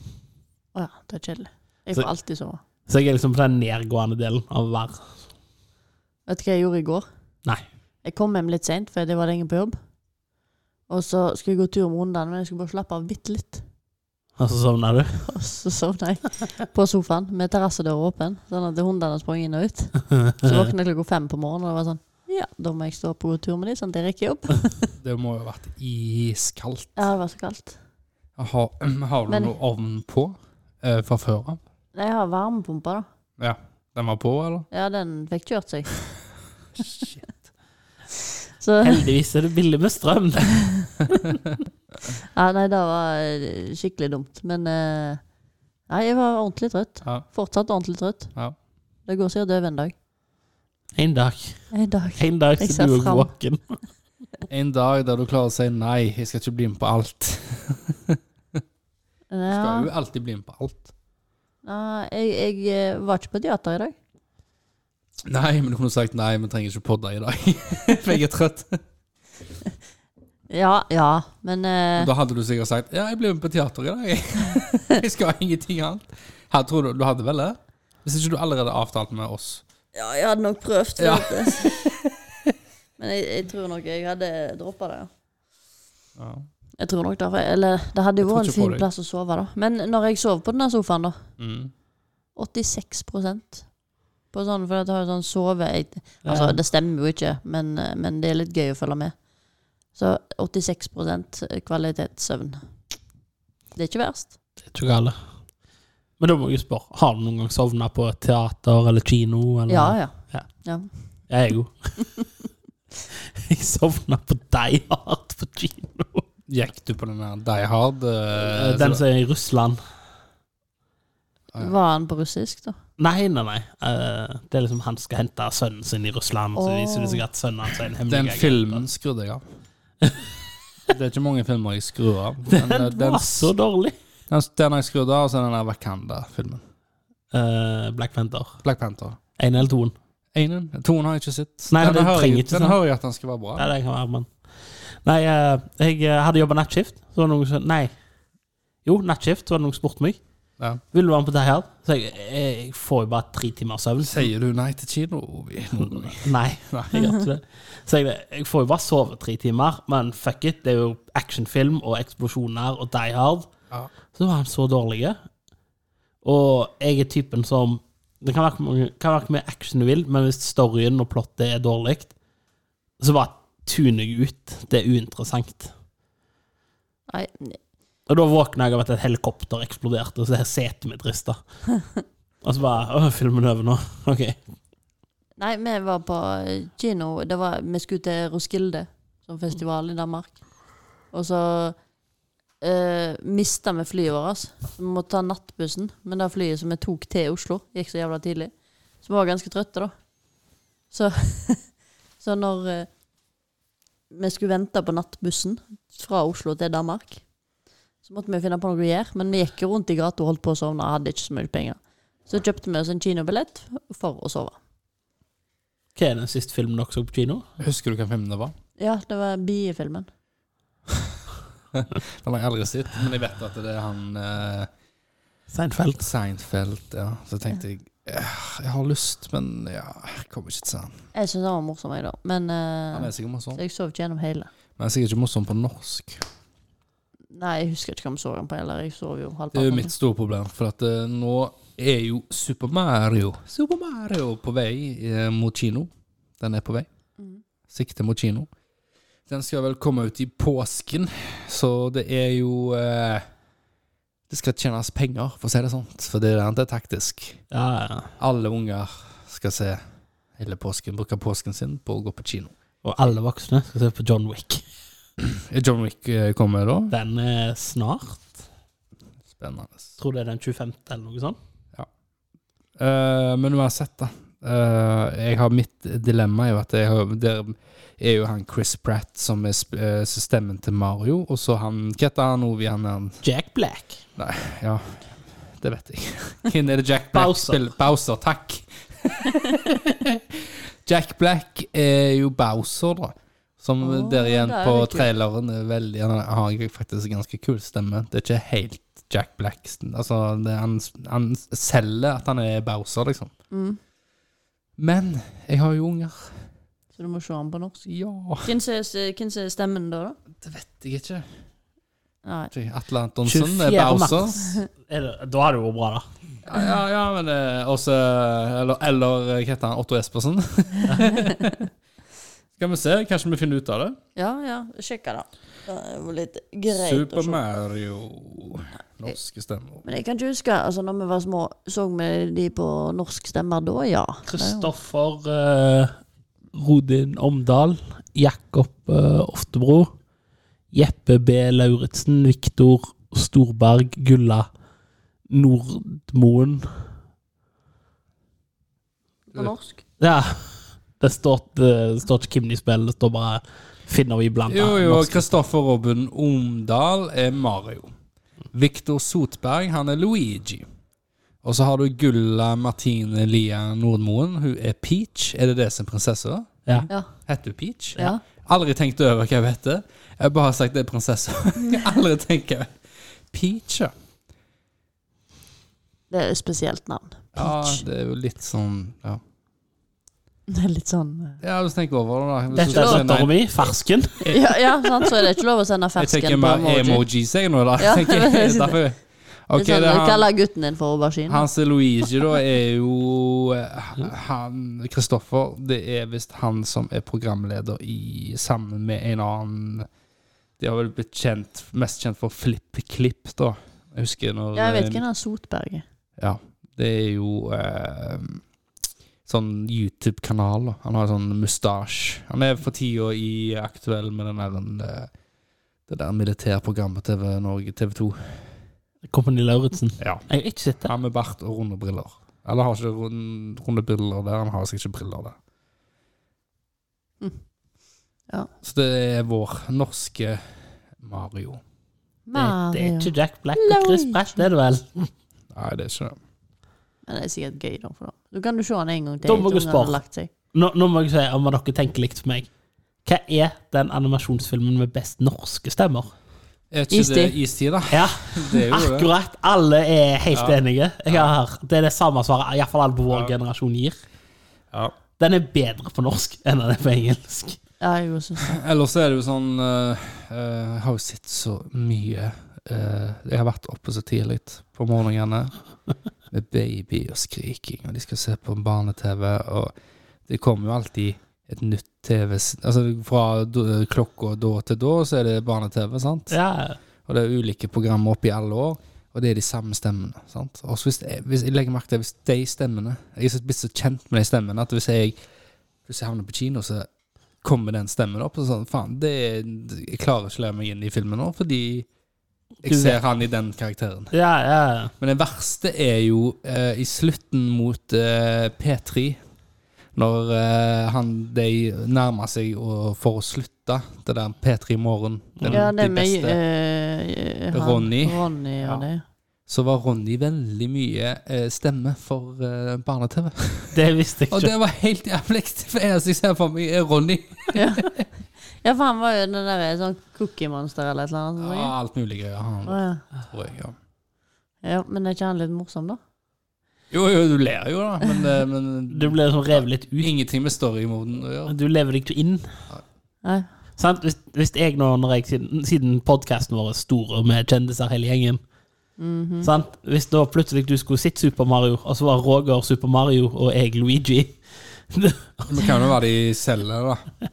[SPEAKER 1] Å ja, det er kjedelig. Jeg får alltid sove.
[SPEAKER 3] Så jeg er liksom på den nedgående delen av hver.
[SPEAKER 1] Vet du hva jeg gjorde i går?
[SPEAKER 3] Nei.
[SPEAKER 1] Jeg kom hjem litt seint, for det var lenge på jobb. Og så skulle jeg gå tur med hundene, men jeg skulle bare slappe av bitte litt.
[SPEAKER 3] Og så Altså, sovner du.
[SPEAKER 1] Og så sovna jeg på sofaen med terrassedøra åpen, sånn at hundene sprang inn og ut. Så våkna jeg klokka fem på morgenen, og det var sånn Ja, da må jeg stå opp og gå tur med dem, sånn at jeg rekker jobb.
[SPEAKER 4] Det må jo ha vært iskaldt.
[SPEAKER 1] Ja, det var så kaldt.
[SPEAKER 4] Har, har du
[SPEAKER 1] Men-
[SPEAKER 4] noe ovn på eh, fra før av?
[SPEAKER 1] Nei, Jeg har varmepumpa, da.
[SPEAKER 4] Den var på, eller?
[SPEAKER 1] Ja, den fikk kjørt seg. Så
[SPEAKER 3] Heldigvis er det billig med strøm.
[SPEAKER 1] ja, Nei, det var eh, skikkelig dumt. Men eh, Nei, jeg var ordentlig trøtt.
[SPEAKER 4] Ja.
[SPEAKER 1] Fortsatt ordentlig trøtt.
[SPEAKER 4] Ja.
[SPEAKER 1] Det går sikkert over en dag.
[SPEAKER 3] En dag.
[SPEAKER 1] En dag.
[SPEAKER 3] En dag
[SPEAKER 1] Jeg
[SPEAKER 3] så
[SPEAKER 1] ser
[SPEAKER 3] du er
[SPEAKER 1] fram.
[SPEAKER 3] våken.
[SPEAKER 4] En dag der du klarer å si nei, jeg skal ikke bli med på alt. Du
[SPEAKER 1] Ja,
[SPEAKER 4] skal jo alltid bli med på alt.
[SPEAKER 1] nei, jeg, jeg eh, var ikke på teater i dag.
[SPEAKER 4] Nei, men du kunne sagt nei, vi trenger ikke podde i dag, for jeg er trøtt.
[SPEAKER 1] Ja, ja, men eh,
[SPEAKER 4] Da hadde du sikkert sagt ja, jeg blir med på teater i dag. Jeg skal ingenting annet. Her tror du, du hadde vel det? Hvis ikke du allerede avtalte med oss.
[SPEAKER 1] Ja, jeg hadde nok prøvd.
[SPEAKER 4] Ja.
[SPEAKER 1] vet du. men jeg, jeg tror nok jeg hadde droppa det. ja.
[SPEAKER 4] Ja.
[SPEAKER 1] Jeg tror nok det. for- Eller det hadde jo
[SPEAKER 4] Jeg tror
[SPEAKER 1] vært en
[SPEAKER 4] ikke på
[SPEAKER 1] fin
[SPEAKER 4] deg.
[SPEAKER 1] plass å sove, da. Men når jeg sov på denne sofaen, da
[SPEAKER 4] Mm.
[SPEAKER 1] 86 på sånn, for det har jo sånn sove jeg, Altså,
[SPEAKER 3] Ja.
[SPEAKER 1] det stemmer jo ikke, men, eh, men det er litt gøy å følge med. Så 86 kvalitetssøvn. Det er ikke verst.
[SPEAKER 3] Det er ikke gale. Men da må jeg jo spørre, har du noen gang sovna på et teater eller kino? Eller?
[SPEAKER 1] Ja, ja.
[SPEAKER 3] Jeg er god. jeg sovna på Die Hard på kino.
[SPEAKER 4] Gikk du på den der Die Hard? eh,
[SPEAKER 3] Den som er i Russland.
[SPEAKER 4] Ja, ja.
[SPEAKER 1] Var han på russisk, da?
[SPEAKER 3] Nei, nei, nei. Eh, Det er liksom han skal hente sønnen sin i Russland, og så
[SPEAKER 1] Åh.
[SPEAKER 3] viser det seg at sønnen hans er en hemmelig
[SPEAKER 4] Den
[SPEAKER 3] agent.
[SPEAKER 4] filmen skrudde jeg av. Det er ikke mange filmer jeg skrur av.
[SPEAKER 3] Den,
[SPEAKER 4] eh,
[SPEAKER 3] var så dårlig.
[SPEAKER 4] den, den har jeg skrudd av, og så er den der Wakanda-filmen.
[SPEAKER 3] Eh, Black Panther.
[SPEAKER 4] Black Panther.
[SPEAKER 3] Én eller toen.
[SPEAKER 4] Einen. Toen har jeg ikke sett.
[SPEAKER 3] Nei,
[SPEAKER 4] den
[SPEAKER 3] den
[SPEAKER 4] hører
[SPEAKER 3] trenger
[SPEAKER 4] jeg,
[SPEAKER 3] ikke
[SPEAKER 4] den
[SPEAKER 3] sånn.
[SPEAKER 4] hører jeg at den skal være bra.
[SPEAKER 3] Ja, det kan være, men Nei, eh, jeg eh, hadde jobba nattskift. Så var det noen som Nei. Jo, nattskift. Så var det noen som spurte meg.
[SPEAKER 4] Ja.
[SPEAKER 3] Vil du være med på det her? Så jeg, jeg, jeg får jo bare tre timer søvn.
[SPEAKER 4] Sier du nei til kino, Ovi?
[SPEAKER 3] Nei, jeg gjør ikke det. Så jeg, jeg får jo bare sove tre timer, men fuck it, det er jo actionfilm og eksplosjoner og Die Hard.
[SPEAKER 4] Ja.
[SPEAKER 3] Så var han så dårlig. Og jeg er typen som Det kan være hvor mange- kan være hvor mye action du vil, men hvis storyen og plottet er dårlig, så bare tuner jeg ut. Det er uinteressant.
[SPEAKER 1] Nei,
[SPEAKER 3] Og da våkna jeg av at et helikopter eksploderte, og så er setet mitt rista. Og så bare Å, filmen er over nå. OK.
[SPEAKER 1] nei, vi var på eh, kino. Det var, vi skulle til Roskilde, som festival i Danmark. Og så eh, mista vi flyet vårt. Så vi måtte ta nattbussen. Men det flyet som vi tok til Oslo, gikk så jævla tidlig. Så vi var ganske trøtte, da. Så, så når eh, vi skulle vente på nattbussen fra Oslo til Danmark, så måtte vi finne på noe å gjøre. Men vi gikk jo rundt i gata og holdt på å sovne og hadde ikke så mye penger. Så kjøpte vi oss en kinobillett for å sove.
[SPEAKER 3] Hva er den siste filmen dere så på kino?
[SPEAKER 4] Husker du hvem filmen det var?
[SPEAKER 1] Ja, det var biefilmen.
[SPEAKER 4] Den har jeg aldri sett, men jeg vet at det er han eh,
[SPEAKER 3] Seinfeld.
[SPEAKER 4] Seinfeld. Ja. Så tenkte jeg eh, jeg har lyst, men ja, jeg kommer ikke til å se den.
[SPEAKER 1] Jeg syns den var morsom, jeg, da. Men eh,
[SPEAKER 4] Han er sikkert morsom,
[SPEAKER 1] så jeg sov ikke gjennom hele.
[SPEAKER 4] men han er sikkert ikke morsom på norsk.
[SPEAKER 1] Nei, jeg husker ikke hva vi så den på heller. Jeg sov jo
[SPEAKER 4] Det er jo
[SPEAKER 1] halvparten.
[SPEAKER 4] mitt store problem, for at eh, nå er jo Super Mario Super Mario på vei eh, mot kino. Den er på vei.
[SPEAKER 1] Mhm.
[SPEAKER 4] Sikte mot kino. Den skal vel komme ut i påsken, så det er jo eh, Det skal tjenes penger, for å si det sånn, for det er, det er taktisk.
[SPEAKER 3] Ja, ja.
[SPEAKER 4] Alle unger skal se hele påsken, bruke påsken sin på å gå på kino.
[SPEAKER 3] Og alle voksne skal se på John Wick.
[SPEAKER 4] Er John Wick eh, kommer da?
[SPEAKER 3] Den er snart.
[SPEAKER 4] Spennende.
[SPEAKER 3] Tror det er den 25. eller noe sånt.
[SPEAKER 4] Eh, men uansett, da. Eh, jeg har mitt dilemma er jo at jeg har, der er jo han Chris Pratt som er sp eh, stemmen til Mario, og så han Hva heter han Ovi? Han, han
[SPEAKER 3] Jack Black.
[SPEAKER 4] Ja, det vet jeg. Hvem er det Jack Black
[SPEAKER 3] Bowser.
[SPEAKER 4] spiller? Bowser, takk. Jack Black er jo Bowser, da. Som
[SPEAKER 1] Å,
[SPEAKER 4] der igjen
[SPEAKER 1] det er
[SPEAKER 4] på
[SPEAKER 1] jo kult.
[SPEAKER 4] traileren er veldig Han har faktisk ganske kul stemme. Det er ikke helt Jack Black. Altså, det, han, han selger at han er Bowser, liksom.
[SPEAKER 1] Mm.
[SPEAKER 4] Men jeg har jo unger.
[SPEAKER 1] Så du må se den på norsk.
[SPEAKER 4] Ja
[SPEAKER 1] Hvem som er- hvem som er stemmen da, da?
[SPEAKER 4] Det vet jeg ikke.
[SPEAKER 1] Nei.
[SPEAKER 4] Atle Antonsen er Bowser.
[SPEAKER 3] Er det, da er det jo bra, da.
[SPEAKER 4] Ja, ja, ja men eh, også Eller, eller eh, hva heter han? Otto Espersen? Skal vi se, kanskje vi finner ut av det.
[SPEAKER 1] Ja, ja. Sjekk det. Det er jo litt greit å
[SPEAKER 4] Super
[SPEAKER 1] se.
[SPEAKER 4] Mario. Norske stemmer.
[SPEAKER 1] Men jeg kan ikke huske altså når vi var små, så vi de på norsk stemmer da, ja.
[SPEAKER 3] Kristoffer eh, Rodin Omdal. Jakob eh, Oftebro. Jeppe B. Lauritzen. Viktor Storberg Gulla. Nordmoen.
[SPEAKER 1] På norsk.
[SPEAKER 3] Ja. Det står, det står ikke hvem de spiller, det står bare 'finner vi blant
[SPEAKER 4] Jo,
[SPEAKER 3] annet
[SPEAKER 4] jo,
[SPEAKER 3] norske».
[SPEAKER 4] Kristoffer Robin Omdal er Mario. Viktor Sotberg, han er Luigi. Og så har du Gulla Martine Lia Nordmoen. Hun er Peach. Er det det som prinsesse? da?
[SPEAKER 3] Ja.
[SPEAKER 1] Ja.
[SPEAKER 4] Heter hun Peach?
[SPEAKER 1] ja.
[SPEAKER 4] Aldri tenkt over hva jeg vet det. Jeg har bare sagt det er prinsesse. Jeg har Aldri tenkt hva jeg vet. Peach, ja.
[SPEAKER 1] Det er et spesielt navn.
[SPEAKER 4] Ja,
[SPEAKER 1] Peach.
[SPEAKER 4] det er jo litt sånn Ja,
[SPEAKER 1] Det er litt sånn eh.
[SPEAKER 4] ja hvis du tenker over det, da. Hvis
[SPEAKER 3] Dette er
[SPEAKER 4] du-
[SPEAKER 3] dattera
[SPEAKER 4] Nei,
[SPEAKER 3] mi, fersken.
[SPEAKER 1] Ja, ja, sant, så er det ikke lov å sende
[SPEAKER 4] Jeg tenker
[SPEAKER 1] fersken på
[SPEAKER 4] mer
[SPEAKER 1] emoji.
[SPEAKER 4] emojis, jeg nå. Da.
[SPEAKER 1] Ja,
[SPEAKER 4] Tenker jeg,
[SPEAKER 1] det er
[SPEAKER 4] derfor. Ok,
[SPEAKER 1] Litt sånn,
[SPEAKER 4] det er han,
[SPEAKER 1] Kaller gutten din for aubergine.
[SPEAKER 4] Hans Luigi, da, er jo eh, han Kristoffer. Det er visst han som er programleder i sammen med en annen De har vel blitt kjent, mest kjent for Flipp Klipp, da. Jeg husker når
[SPEAKER 1] Ja, jeg vet
[SPEAKER 4] eh,
[SPEAKER 1] ikke hvem er Sotberg er.
[SPEAKER 4] Ja, det er jo eh, sånn YouTube-kanal. da. Han har sånn mustasje. Han er for tida i aktuell med den der eh, det der militærprogrammet TV Norge, TV2.
[SPEAKER 3] Kompani Lauritzen.
[SPEAKER 4] Ja.
[SPEAKER 3] Jeg har ikke sett det.
[SPEAKER 4] Han med bart og runde briller. Eller har ikke runde, runde briller der, han har sikkert ikke briller der.
[SPEAKER 1] Mm. Ja.
[SPEAKER 4] Så det er vår norske Mario.
[SPEAKER 3] Det, det er ikke Jack Black og
[SPEAKER 1] Lauritzen.
[SPEAKER 3] Chris Pratt, det er det vel?
[SPEAKER 4] Nei, det er ikke det.
[SPEAKER 1] Men det er sikkert gøy, da. For da. Du kan du se den en gang til.
[SPEAKER 3] Da må
[SPEAKER 1] etter
[SPEAKER 3] du
[SPEAKER 1] ungene har
[SPEAKER 3] spare.
[SPEAKER 1] lagt seg.
[SPEAKER 3] Nå, nå må jeg si om dere tenker likt for meg. Hva er den animasjonsfilmen med best norske stemmer?
[SPEAKER 4] Er ikke
[SPEAKER 1] Istid.
[SPEAKER 4] det istid, da?
[SPEAKER 3] Ja,
[SPEAKER 4] Det er jo det.
[SPEAKER 3] akkurat. Alle er helt
[SPEAKER 4] Ja.
[SPEAKER 3] enige. Jeg har, det er det samme svaret iallfall alle på vår
[SPEAKER 4] Ja.
[SPEAKER 3] generasjon gir.
[SPEAKER 4] Ja.
[SPEAKER 3] Den er bedre på norsk enn den er på engelsk.
[SPEAKER 1] Ja, jeg også synes det.
[SPEAKER 4] Eller så er det jo sånn eh, eh, Jeg har jo sett så mye eh, Jeg har vært oppe så tidlig på morgenene med baby og skriking, og de skal se på barne-TV, og det kommer jo alltid et nytt TV Altså fra d- klokka da til da, så er det barne-TV, sant?
[SPEAKER 3] Ja,
[SPEAKER 4] Og det er ulike programmer opp i alle år, og det er de samme stemmene. sant? Og så hvis, jeg- hvis Jeg legger merke til hvis de stemmene Jeg er så- blitt så kjent med de stemmene at hvis jeg, hvis jeg havner på kino, så kommer den stemmen opp. Og så sånn, faen, det er, Jeg klarer ikke å lære meg inn i filmen nå, fordi jeg
[SPEAKER 3] Du
[SPEAKER 4] ser
[SPEAKER 3] vet.
[SPEAKER 4] han i den karakteren.
[SPEAKER 3] ja, ja.
[SPEAKER 4] Men det verste er jo eh, i slutten mot eh, P3, når eh, han, de nærmer seg å, for å slutte, det der P3 i morgen. den-
[SPEAKER 1] Ja, det
[SPEAKER 4] de
[SPEAKER 1] med
[SPEAKER 4] beste.
[SPEAKER 1] eh, han-
[SPEAKER 4] Ronny.
[SPEAKER 1] Ronny og
[SPEAKER 4] Ja.
[SPEAKER 1] det.
[SPEAKER 4] så var Ronny veldig mye eh, stemme for eh, barne-TV.
[SPEAKER 3] Det visste jeg
[SPEAKER 4] Og
[SPEAKER 3] ikke.
[SPEAKER 4] det var helt jævlig. For det eneste jeg ser for meg, er Ronny.
[SPEAKER 1] Ja. ja, for han var jo den der sånn cookie monster eller et eller annet.
[SPEAKER 4] Ja,
[SPEAKER 1] sånn,
[SPEAKER 4] alt mulig greier.
[SPEAKER 1] ikke?
[SPEAKER 4] Han,
[SPEAKER 1] Å, ja.
[SPEAKER 4] tror jeg, ja.
[SPEAKER 1] ja, Men er ikke han litt morsom, da?
[SPEAKER 4] Jo, jo, du ler jo, da, men, eh, men
[SPEAKER 3] Du ble sånn revet litt ut.
[SPEAKER 4] ingenting med storymoden å gjøre.
[SPEAKER 3] Du lever deg ikke inn.
[SPEAKER 1] Nei.
[SPEAKER 3] Sant? Hvis, hvis jeg nå, når jeg, siden, siden podkasten vår er stor med kjendiser hele gjengen sant? Hvis da plutselig du skulle sett Super Mario, og så var Roger Super Mario og jeg Luigi
[SPEAKER 4] Vi kan jo være de selv, da.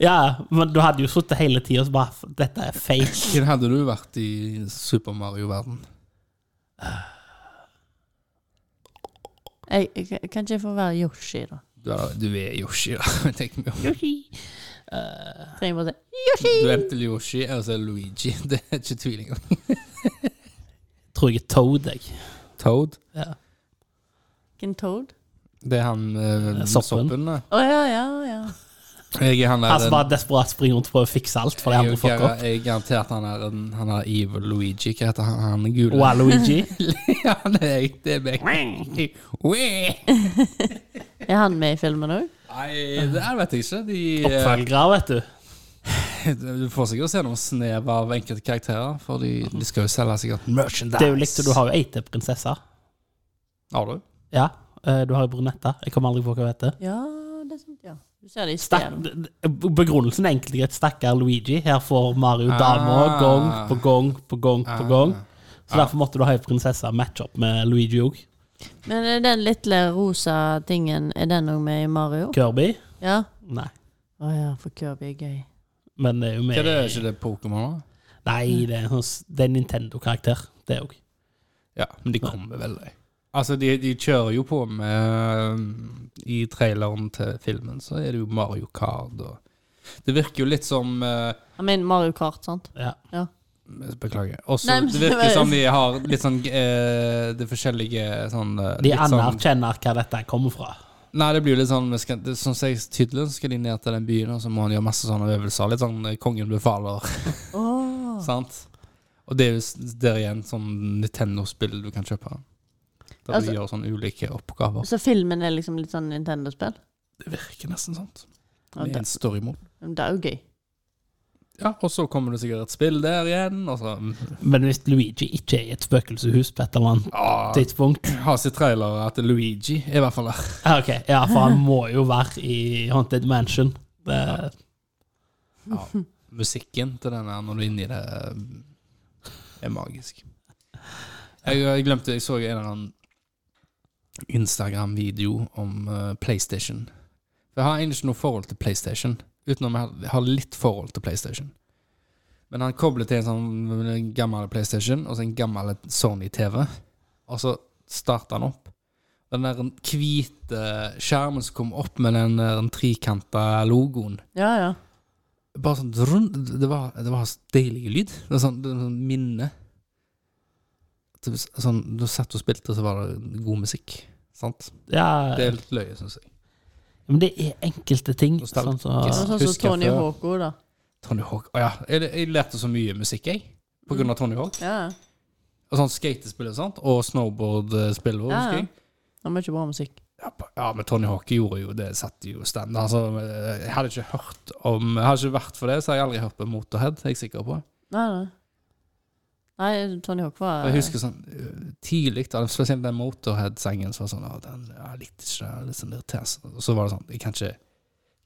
[SPEAKER 3] Ja, men du hadde jo sittet hele tida og så bare Dette er feil.
[SPEAKER 4] Hvem hadde du vært i Super Mario-verden?
[SPEAKER 1] Jeg, jeg, kan ikke jeg få være Yoshi, da?
[SPEAKER 4] Du, er- du er Yoshi, da. Tenk meg om.
[SPEAKER 1] Trenger bare å si
[SPEAKER 4] Du er enten Yoshi eller så er det Luigi. Det er ikke tvilling. om.
[SPEAKER 3] Tror jeg er Toad, jeg.
[SPEAKER 4] Toad.
[SPEAKER 1] Ken Toad.
[SPEAKER 4] Det er han eh, med
[SPEAKER 3] Soppen.
[SPEAKER 4] soppen. da.
[SPEAKER 1] Å ja, ja, ja.
[SPEAKER 4] Jeg er han der
[SPEAKER 3] Han som
[SPEAKER 4] den-
[SPEAKER 3] bare desperat springer rundt og prøver å fikse alt for de
[SPEAKER 4] Jeg er
[SPEAKER 3] andre
[SPEAKER 4] jo
[SPEAKER 3] fucker
[SPEAKER 4] gar-
[SPEAKER 3] opp.
[SPEAKER 4] Jeg er garantert han er en Han er evil Luigi. Hva heter han? Han er gul.
[SPEAKER 3] Og Luigi.
[SPEAKER 4] ja, det er jeg. Det er meg. Wee!
[SPEAKER 1] Er han med i filmen òg?
[SPEAKER 4] Nei, det her vet jeg ikke. De,
[SPEAKER 3] Oppfølgere, vet du.
[SPEAKER 4] eh, du får sikkert se noen snev av enkelte karakterer, for de, de skal jo selge sikkert merchandise.
[SPEAKER 3] Det er jo likt du har jo ei til prinsesse.
[SPEAKER 4] Har du?
[SPEAKER 3] Ja. eh, Du har jo brunette. Jeg kommer aldri på hva hun heter.
[SPEAKER 1] Ja, det er sant, ja. Du ser det i
[SPEAKER 3] Stakk,
[SPEAKER 1] stedet.
[SPEAKER 3] begrunnelsen er enkelt og greit. Stakkar Luigi. Her får Mario damer
[SPEAKER 4] Ah.
[SPEAKER 3] gang på gang på gang på gang.
[SPEAKER 4] Ah.
[SPEAKER 3] Så derfor måtte du ha ei prinsesse match-up med Luigi òg.
[SPEAKER 1] Men er den lille rosa tingen, er den òg med i Mario?
[SPEAKER 3] Kirby?
[SPEAKER 1] Ja?
[SPEAKER 3] Nei.
[SPEAKER 1] Å ja, for Kirby er gøy.
[SPEAKER 3] Men det er jo
[SPEAKER 4] Hva er
[SPEAKER 3] med
[SPEAKER 4] det, er ikke det Pokémon, da?
[SPEAKER 3] Nei, det er en, sånn- det er en Nintendo-karakter, det òg.
[SPEAKER 4] Ja, men de kommer vel de. Altså, de, de kjører jo på med eh, I traileren til filmen så er det jo Mario Kart og Det virker jo litt som eh,
[SPEAKER 1] Jeg mener Mario Kart, sant?
[SPEAKER 3] Ja.
[SPEAKER 4] Beklager. Og så
[SPEAKER 1] Nei, men-
[SPEAKER 4] det virker som de har litt sånn eh, Det forskjellige sånn eh,
[SPEAKER 3] De
[SPEAKER 4] litt sånn,
[SPEAKER 3] anerkjenner hva dette kommer fra.
[SPEAKER 4] Nei, det blir jo litt sånn vi skal, det, Som jeg tydelig skal de ned til den byen, og så må han gjøre masse sånne øvelser. Litt sånn eh, Kongen befaler,
[SPEAKER 1] Åh.
[SPEAKER 4] sant? Og det er jo s- der igjen sånn Nintendo-spill du kan kjøpe. Der
[SPEAKER 1] Altså-
[SPEAKER 4] du gjør sånne ulike oppgaver.
[SPEAKER 1] Så filmen er liksom litt sånn Nintendo-spill?
[SPEAKER 4] Det virker nesten sånt.
[SPEAKER 1] Ja,
[SPEAKER 4] Med
[SPEAKER 1] det-
[SPEAKER 4] en story mode.
[SPEAKER 1] Det er jo gøy.
[SPEAKER 4] Ja, og så kommer det sikkert et spill der igjen, og så
[SPEAKER 3] Men hvis Luigi ikke er i et spøkelseshus på et eller annet
[SPEAKER 4] ah,
[SPEAKER 3] tidspunkt
[SPEAKER 4] Har sitt trailer at Luigi er i hvert fall der.
[SPEAKER 3] Ja, Ok, ja, for han må jo være i Haunted Mansion. Det,
[SPEAKER 4] Ja, musikken til den her når du er inni det, er magisk. Jeg, jeg glemte Jeg så en eller annen Instagram-video om eh, PlayStation. For jeg har egentlig ikke noe forhold til PlayStation, utenom jeg har- har litt forhold til PlayStation. Men han koblet til en sånn gammel PlayStation og så en gammel Sony-TV, og så starta han opp. Den der hvite skjermen som kom opp med den, der trikanta logoen
[SPEAKER 1] Ja, ja.
[SPEAKER 4] bare sånn drun, det, var, det var så deilig lyd. Det var sånn, det var sånn minne. Det var Sånn, du satt og spilte, og så var det god musikk. Sant?
[SPEAKER 3] ja,
[SPEAKER 4] Det er litt løye, syns jeg.
[SPEAKER 3] men det er enkelte ting. Sånn
[SPEAKER 4] Nostalgisk.
[SPEAKER 3] som
[SPEAKER 1] Det var sånn som
[SPEAKER 4] Husker jeg
[SPEAKER 1] Tony
[SPEAKER 4] før.
[SPEAKER 1] Hawk òg, da.
[SPEAKER 4] Tony Hawk. Å ja. Jeg, jeg lærte så mye musikk, jeg. På grunn av Tony Hawk.
[SPEAKER 1] Ja, ja.
[SPEAKER 4] Og sånn skatespill og sånt. Og snowboardspill.
[SPEAKER 1] Ja, ja.
[SPEAKER 4] Ja, ja.
[SPEAKER 1] Det var mye bra musikk.
[SPEAKER 4] Ja, på- Ja, men Tony Hawk gjorde jo det. Satte jo stand. Altså, jeg hadde ikke hørt om Jeg hadde ikke vært for det, så hadde jeg aldri hørt på Motorhead. er jeg sikker på.
[SPEAKER 1] Nei, nei. Nei, Tony Hawk var
[SPEAKER 4] Og jeg husker sånn eh, tidlig, da, spesielt den Motorhead-sangen, så var det sånn «Å, den, ja, litt, ikke, litt sånn irriterende. Og så var det sånn Jeg kan ikke,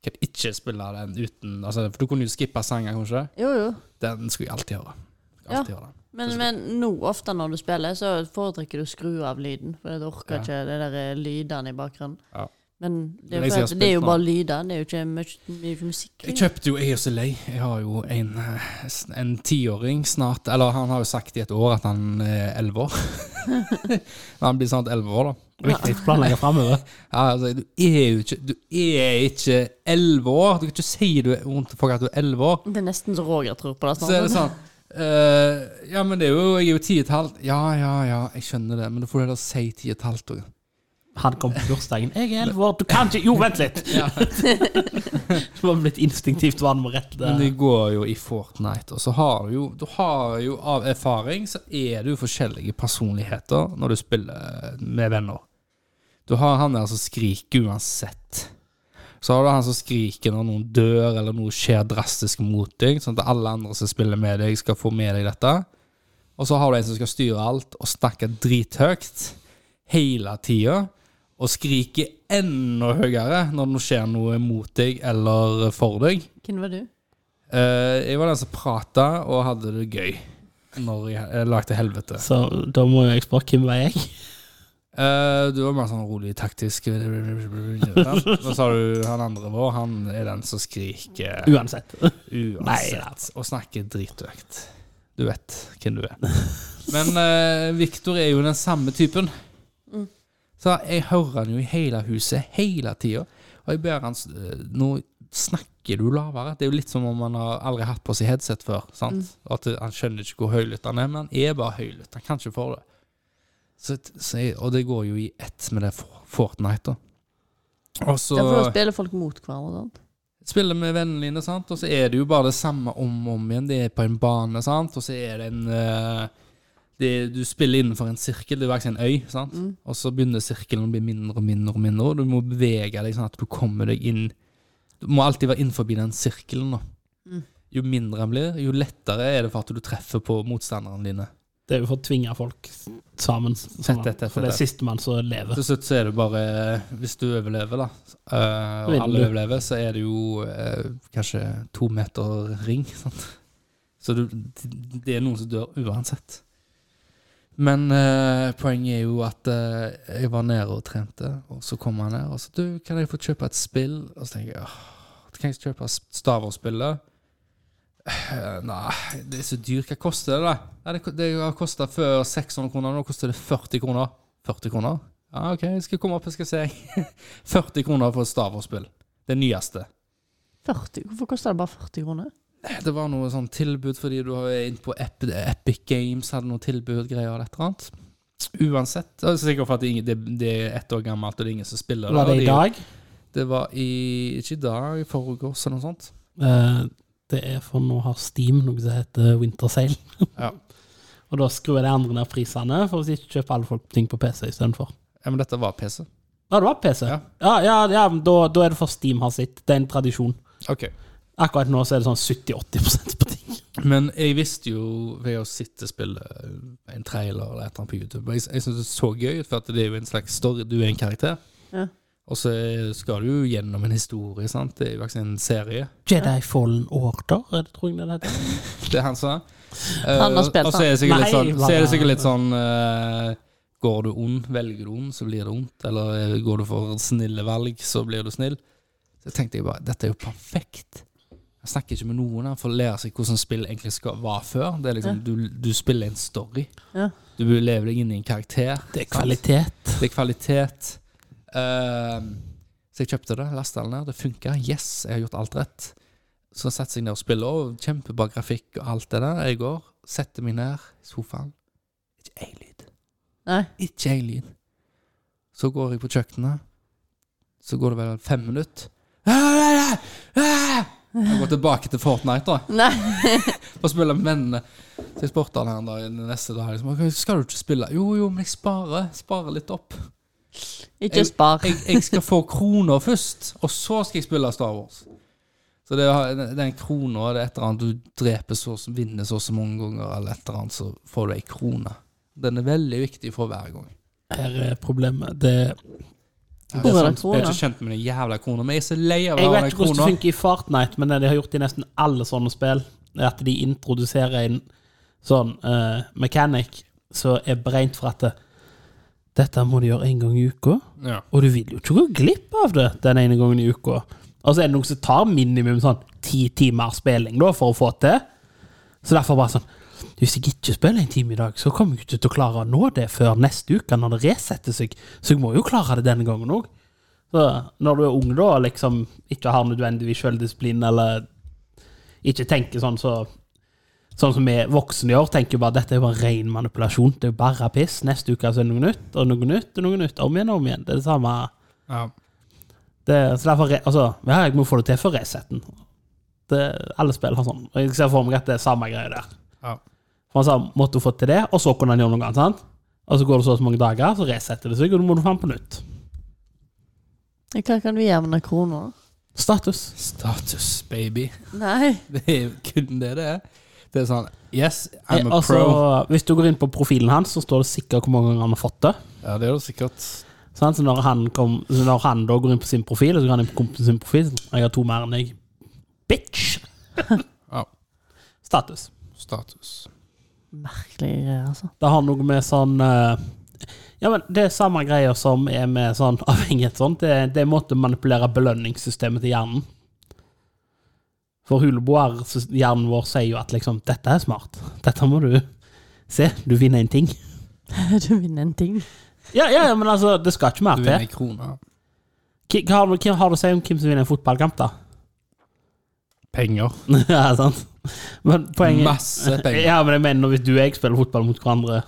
[SPEAKER 4] kan ikke spille den uten altså, For du kunne jo skippe sangen, kanskje.
[SPEAKER 1] Jo, jo.
[SPEAKER 4] Den skulle jeg alltid høre.
[SPEAKER 1] Ja.
[SPEAKER 4] Alltid høre den.
[SPEAKER 1] Men, men nå ofte når du spiller, så foretrekker du å skru av lyden. For du orker
[SPEAKER 4] Ja.
[SPEAKER 1] ikke det der eh, lydene i bakgrunnen.
[SPEAKER 4] Ja.
[SPEAKER 1] Men det er,
[SPEAKER 4] Men jeg
[SPEAKER 1] jo
[SPEAKER 4] sier
[SPEAKER 1] for at det er
[SPEAKER 4] spilt
[SPEAKER 1] jo
[SPEAKER 4] nå.
[SPEAKER 1] bare lyder, det er jo ikke mye, mye musikk. i
[SPEAKER 4] Jeg
[SPEAKER 1] det.
[SPEAKER 4] kjøpte jo Jeg er jo så lei. Jeg har jo en, eh, s- en tiåring snart Eller han har jo sagt i et år at han eh, er elleve år. Men han blir snart elleve år, da.
[SPEAKER 3] Viktig planlegge fremover
[SPEAKER 4] Ja, altså, du er jo ikke Du er ikke elleve år! Du kan ikke si du er vondt til folk at du er elleve år.
[SPEAKER 1] Det er nesten så Roger tror på det.
[SPEAKER 4] Så er det
[SPEAKER 1] Snart.
[SPEAKER 4] sånn eh, Ja, men det er jo Jeg er jo ti og et halvt. Ja, ja, ja, jeg skjønner det, men da får du heller si ti og et halvt òg.
[SPEAKER 3] Han kom på bursdagen. 'Jeg er 11 år, du kan ikke Jo, vent litt! Det var blitt instinktivt hva han må rette
[SPEAKER 4] Men det
[SPEAKER 3] det.
[SPEAKER 4] går jo i Fortnite, og så har du jo, du har jo av erfaring så er det jo forskjellige personligheter når du spiller med venner. Du har han der som skriker uansett. Så har du han som skriker når noen dør, eller noe skjer drastisk mot deg, sånn at alle andre som spiller med deg, skal få med deg dette. Og så har du en som skal styre alt, og snakke drithøyt hele tida. Og skrike enda høyere når det skjer noe mot deg eller for deg.
[SPEAKER 1] Hvem var du?
[SPEAKER 4] Eh, jeg var den som prata og hadde det gøy når jeg, jeg lagde helvete.
[SPEAKER 3] Så da må jeg spørre hvem var jeg?
[SPEAKER 4] Eh, du var mer sånn rolig taktisk. Hva sa du han andre vår? Han er den som skriker
[SPEAKER 3] Uansett. Nei,
[SPEAKER 4] uansett og snakker dritøkt. Du vet hvem du er. Men eh, Victor er jo den samme typen.
[SPEAKER 1] Mm.
[SPEAKER 4] Så jeg hører han jo i hele huset hele tida. Og jeg ber han s- eh, Nå snakker du lavere. Det er jo litt som om han har aldri hatt på seg headset før. Sant?
[SPEAKER 1] Mm.
[SPEAKER 4] At det- Han skjønner ikke hvor høylytt han er, men han er bare høylytt. Han kan ikke få det. Så, så jeg, og det går jo i ett med det for- Fortnite, da. Og så
[SPEAKER 1] Ja, for da spiller folk mot hverandre. Sant?
[SPEAKER 4] spiller med vennene dine, sant? og så er det jo bare det samme om og om igjen. Det er på en bane, sant? og så er det en eh, det, Du spiller innenfor en sirkel, det er faktisk en øy, sant? og så begynner sirkelen å bli mindre og mindre, og mindre, og du må bevege deg sånn at du kommer deg inn Du må alltid være innenfor den sirkelen. da. Jo mindre den blir, jo lettere er det for at du treffer på motstanderne dine.
[SPEAKER 3] Det er jo for å tvinge folk sammen.
[SPEAKER 4] Tett, tett, tett,
[SPEAKER 3] For det
[SPEAKER 4] tett.
[SPEAKER 3] er sistemann som lever.
[SPEAKER 4] Til slutt så er det bare Hvis du overlever, da, eh, og
[SPEAKER 3] Vinner
[SPEAKER 4] alle
[SPEAKER 3] du.
[SPEAKER 4] overlever, så er det jo eh, kanskje to meter ring. Sant? Så du, det er noen som dør uansett. Men eh, poenget er jo at eh, jeg var nede og trente, og så kom han ned og sa du, kan jeg få kjøpe et spill? Og så tenker jeg åh, kan jeg kjøpe Staverspillet? Eh, Nei, det er så dyrt. Hva koster det, da? Nei, det, det har kosta før 600 kroner, nå koster det 40 kroner. 40 kroner? Ja, OK, jeg skal komme opp og skal se. 40 kroner for et Staverspill. Det nyeste.
[SPEAKER 1] 40? Hvorfor koster det bare 40 kroner?
[SPEAKER 4] Det var noe sånn tilbud fordi du var inne på Ep- Epic Games, hadde noe tilbud, greier og et eller annet. Uansett. Det er sikkert for at det, er ingen- det, det er ett år gammelt, og det er ingen som spiller
[SPEAKER 3] Var
[SPEAKER 4] og
[SPEAKER 3] det i dag?
[SPEAKER 4] Det var i Ikke i dag, i forgårs eller noe sånt.
[SPEAKER 3] Eh, Det er for nå har Steam noe som heter Wintersail.
[SPEAKER 4] Ja.
[SPEAKER 3] Og da skrur jeg de andre ned prisene, for hvis ikke kjøper alle folk ting på PC istedenfor.
[SPEAKER 4] Ja, Men dette var PC.
[SPEAKER 3] Ja, det var PC. Ja,
[SPEAKER 4] Ja.
[SPEAKER 3] ja, ja, men da, da er det for Steam har sitt. Det er en tradisjon.
[SPEAKER 4] Ok.
[SPEAKER 3] Akkurat nå så er det sånn 70-80 på ting.
[SPEAKER 4] Men jeg visste jo ved å sitte og spille eh, en trailer eller et eller annet på YouTube Jeg, jeg syns det så gøy ut, for at det er jo en slags story. Du er en karakter.
[SPEAKER 1] Ja.
[SPEAKER 4] Og så skal du jo gjennom en historie, sant. Det er jo faktisk en serie.
[SPEAKER 3] Jedi Fallen Order, er det, tror jeg det heter.
[SPEAKER 4] Det er han sa. Eh,
[SPEAKER 1] Han har spilt
[SPEAKER 4] og så er det sikkert
[SPEAKER 3] Nei,
[SPEAKER 4] litt sånn,
[SPEAKER 3] hva
[SPEAKER 4] så er det
[SPEAKER 3] da?
[SPEAKER 4] sikkert litt sånn eh, Går du ond, velger du ond, så blir det ondt. Eller eh, går du for snille valg, så blir du snill. Så tenkte jeg bare dette er jo perfekt. Jeg snakker ikke med noen her for å lære seg hvordan spill egentlig skal være før. Det er liksom, du, du spiller en story.
[SPEAKER 1] Ja.
[SPEAKER 4] Du lever deg inn i en karakter.
[SPEAKER 3] Det er
[SPEAKER 4] sant?
[SPEAKER 3] kvalitet.
[SPEAKER 4] Det er kvalitet. Ehm, så jeg kjøpte det, lasta det ned, det funka. Yes, jeg har gjort alt rett. Så setter jeg ned og spiller, og kjempebra grafikk og alt det der. Jeg går, setter meg ned i sofaen. Ikke én lyd.
[SPEAKER 1] Nei.
[SPEAKER 4] Ikke én lyd. Så går jeg på kjøkkenet. Så går det vel fem minutter. Jeg går tilbake til Fortnite, da
[SPEAKER 1] Nei.
[SPEAKER 4] og spille med vennene. Så jeg spurte han her en dag, den neste dag liksom, «Ok, Skal du ikke spille? Jo, jo, men jeg sparer. Sparer litt opp.
[SPEAKER 1] Ikke spar.
[SPEAKER 4] Jeg, jeg skal få kroner først, og så skal jeg spille Star Wars. Så det er den- den krona det er et eller annet du dreper så vinner så og så mange ganger, eller et eller annet, så får du ei krone. Den er veldig viktig for hver gang.
[SPEAKER 3] Her er eh, problemet. Det
[SPEAKER 4] Jeg,
[SPEAKER 1] Hvor er
[SPEAKER 4] er
[SPEAKER 1] det
[SPEAKER 4] sånn- jeg er
[SPEAKER 1] krona?
[SPEAKER 4] ikke kjent med den jævla krona, men jeg er så lei av å
[SPEAKER 3] Jeg
[SPEAKER 4] ha
[SPEAKER 3] vet
[SPEAKER 4] den
[SPEAKER 3] ikke hvordan det
[SPEAKER 4] krona.
[SPEAKER 3] funker i Fortnite, men det de har gjort i nesten alle sånne spill, er at de introduserer en sånn eh, mechanic som er beregnet for at det, dette må du gjøre en gang i uka,
[SPEAKER 4] Ja.
[SPEAKER 3] og du vil jo ikke gå glipp av det den ene gangen i uka. Og så er det noen som tar minimum sånn ti timer spilling da, for å få til. Så derfor bare sånn Hvis jeg ikke spiller en time i dag, så kommer jeg ikke til å klare å nå det før neste uke, når det resetter seg. Så jeg må jo klare det denne gangen òg. Så når du er ung da, og liksom ikke har nødvendigvis selvdisiplin, eller ikke tenker sånn så Sånn som vi voksne gjør, tenker jo bare dette er jo bare ren manipulasjon. Det er jo bare piss. Neste uke så er det noe nytt, og noe nytt, og noe nytt. Om igjen og om igjen. Det er det samme.
[SPEAKER 4] Ja.
[SPEAKER 3] Det, så derfor, re- altså, ja, jeg må få det til før resetten. Det, alle spill har sånn. Og jeg ser for meg at det er samme greie der.
[SPEAKER 4] Ja.
[SPEAKER 3] For han sa, måtte du få til det, og så kunne han gjøre noe annet, sant? Og så går det så og så mange dager, så resetter det seg, og da må du fram på nytt.
[SPEAKER 1] Hva kan du gjøre med den krona? da?
[SPEAKER 3] Status.
[SPEAKER 4] Status, baby.
[SPEAKER 1] Nei.
[SPEAKER 4] Det er kun det det er. Det er sånn Yes,
[SPEAKER 3] Eh,
[SPEAKER 4] I'm a
[SPEAKER 3] altså,
[SPEAKER 4] pro.
[SPEAKER 3] Hvis du går inn på profilen hans, så står det sikkert hvor mange ganger han har fått det.
[SPEAKER 4] Ja, det er jo sikkert
[SPEAKER 3] Sant? Så, når han kom, så når han da går inn på sin profil, og så går han inn på kompisen sin profil sånn, Jeg har to mer enn deg. Bitch!
[SPEAKER 4] Ja.
[SPEAKER 3] Status.
[SPEAKER 4] status.
[SPEAKER 1] Merkelige greier, altså.
[SPEAKER 3] Det har noe med sånn eh, Ja, men det er samme greia som er med sånn avhengighet sånn. Det, det er en måte å manipulere belønningssystemet til hjernen. For huleboer, så hjernen vår sier jo at liksom Dette er smart. Dette må du se. Du vinner en ting.
[SPEAKER 1] Du vinner en ting.
[SPEAKER 3] Ja, ja, ja men altså, det skal ikke
[SPEAKER 4] Du
[SPEAKER 3] mer til.
[SPEAKER 4] vinner kroner.
[SPEAKER 3] Hva hva har, du- hva har du å si om hvem som vinner en fotballkamp, da?
[SPEAKER 4] Penger.
[SPEAKER 3] ja, sant? Men poenget
[SPEAKER 4] Masse penger.
[SPEAKER 3] Ja, men jeg mener hvis du og jeg spiller fotball mot hverandre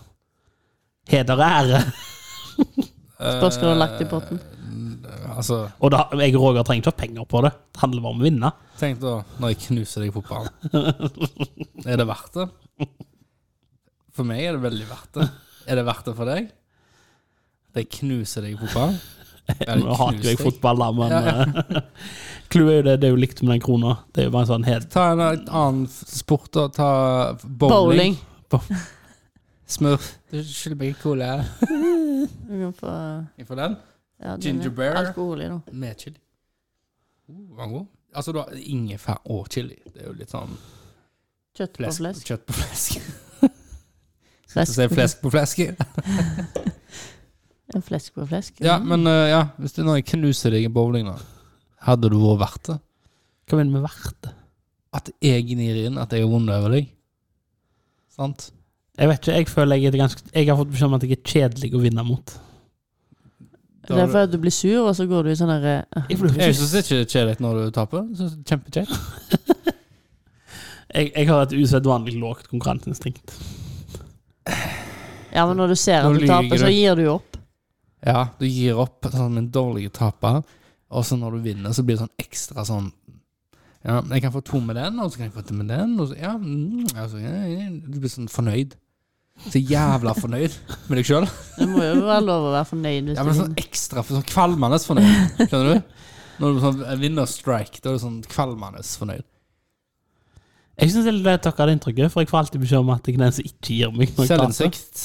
[SPEAKER 3] Heder og ære.
[SPEAKER 1] Spørs hva du har lagt i potten.
[SPEAKER 4] Eh, Altså,
[SPEAKER 3] Og da, jeg og Roger trenger ikke ha penger på det. Det handler bare om å vinne.
[SPEAKER 4] tenk da, når jeg knuser deg i fotballen. Er det verdt det? For meg er det veldig verdt det. Er det verdt det for deg? At jeg knuser deg i fotballen? Ja,
[SPEAKER 3] Nå hater jo jeg
[SPEAKER 4] knuser deg.
[SPEAKER 3] fotball, da, men
[SPEAKER 4] Ja,
[SPEAKER 3] eh, Clou er jo det, det er jo likt med den krona. Det er jo bare en sånn hed.
[SPEAKER 4] Ta en annen sport, da. Ta bowling.
[SPEAKER 1] Bowling.
[SPEAKER 4] Smør. Du skylder meg en cola.
[SPEAKER 1] Du kan få
[SPEAKER 4] Jeg får den.
[SPEAKER 1] ja, det er
[SPEAKER 4] Ginger beer.
[SPEAKER 1] Alkohol i nå.
[SPEAKER 4] Med chili. Uh, var den god? Altså, du har ingefær og chili. Det er jo litt sånn
[SPEAKER 1] Kjøtt på
[SPEAKER 4] flesk,
[SPEAKER 1] flesk.
[SPEAKER 4] kjøtt på flesk.
[SPEAKER 1] Flesk.
[SPEAKER 4] Så sier jeg flesk på flesk.
[SPEAKER 1] Ja, Flesk på flesk. Mm.
[SPEAKER 4] Ja, men eh, ja, hvis du når jeg knuser deg i bowling, da, hadde du vært verdt det?
[SPEAKER 3] Hva mener vi med verdt?
[SPEAKER 4] At jeg gnir inn at jeg har vunnet over deg? Sant?
[SPEAKER 3] Jeg vet ikke, jeg føler jeg er ganske Jeg har fått beskjed om at jeg er kjedelig å vinne mot.
[SPEAKER 1] Det er fordi at du blir sur, og så går du i sånn derre
[SPEAKER 3] Jeg, blir
[SPEAKER 4] Jeg
[SPEAKER 3] ikke-
[SPEAKER 4] syns ikke det er kjedelig når du taper. Jeg synes det er Kjempekjedelig.
[SPEAKER 3] jeg, jeg har et usedvanlig lågt konkurranseinstinkt.
[SPEAKER 1] Ja, men når du ser
[SPEAKER 4] Nå
[SPEAKER 1] at du
[SPEAKER 4] lyger
[SPEAKER 1] taper, så
[SPEAKER 4] du.
[SPEAKER 1] gir du jo opp.
[SPEAKER 4] Ja, du gir opp sånn som en dårlig taper, og så når du vinner, så blir det sånn ekstra sånn Ja, jeg kan få to med den, og så kan jeg få to med den, og så Ja, mm, altså, ja, ja. Du blir sånn fornøyd. Så jævla fornøyd med deg sjøl.
[SPEAKER 1] Det må jo være lov å være fornøyd hvis
[SPEAKER 4] Ja, men
[SPEAKER 1] du
[SPEAKER 4] sånn ekstra for sånn kvalmende fornøyd. Skjønner du? Når du sånn vinner strike, da er du sånn kvalmende fornøyd.
[SPEAKER 3] Jeg syns det er takk av det inntrykket, for jeg får alltid beskjed om at jeg er den som ikke gir meg. når jeg taper.
[SPEAKER 4] Selvinnsikt.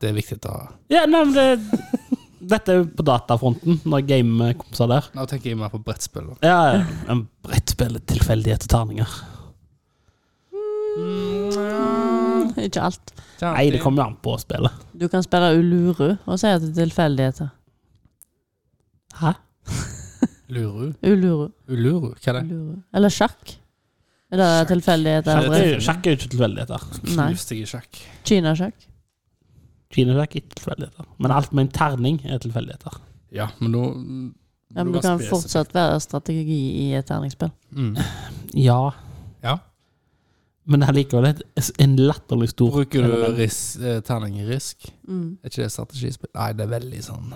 [SPEAKER 4] Det er viktig å ha.
[SPEAKER 3] Ja, nei, men det, Dette er jo på datafronten, når jeg gamer med kompiser der.
[SPEAKER 4] Nå tenker jeg mer på brettspill. da.
[SPEAKER 3] Ja, ja, en brettspill er tilfeldighet og terninger.
[SPEAKER 1] Ikke alt.
[SPEAKER 3] Nei, det kommer jo an på spillet.
[SPEAKER 1] Du kan spille Uluru og si at det er tilfeldigheter.
[SPEAKER 3] Hæ?
[SPEAKER 4] Luru.
[SPEAKER 1] Uluru.
[SPEAKER 4] Uluru, hva er det?
[SPEAKER 1] Uluru. Eller sjakk. Er det tilfeldigheter?
[SPEAKER 3] Sjakk er
[SPEAKER 1] eller-
[SPEAKER 3] jo- sjakk er jo ikke tilfeldigheter.
[SPEAKER 1] Nei.
[SPEAKER 4] Knust deg i sjakk.
[SPEAKER 1] Kinasjakk.
[SPEAKER 3] Kinasjakk er ikke tilfeldigheter. Men alt med en terning er tilfeldigheter.
[SPEAKER 4] Ja, men nå
[SPEAKER 1] Ja, men du kan fortsatt være strategi i et terningsspill.
[SPEAKER 4] Mm.
[SPEAKER 3] Ja,
[SPEAKER 4] Ja.
[SPEAKER 3] men allikevel er det en latterlig stor
[SPEAKER 4] Bruker du
[SPEAKER 3] element.
[SPEAKER 4] ris eh, terning i risk?
[SPEAKER 1] Mm.
[SPEAKER 4] Er ikke det strategispill? Nei, det er veldig sånn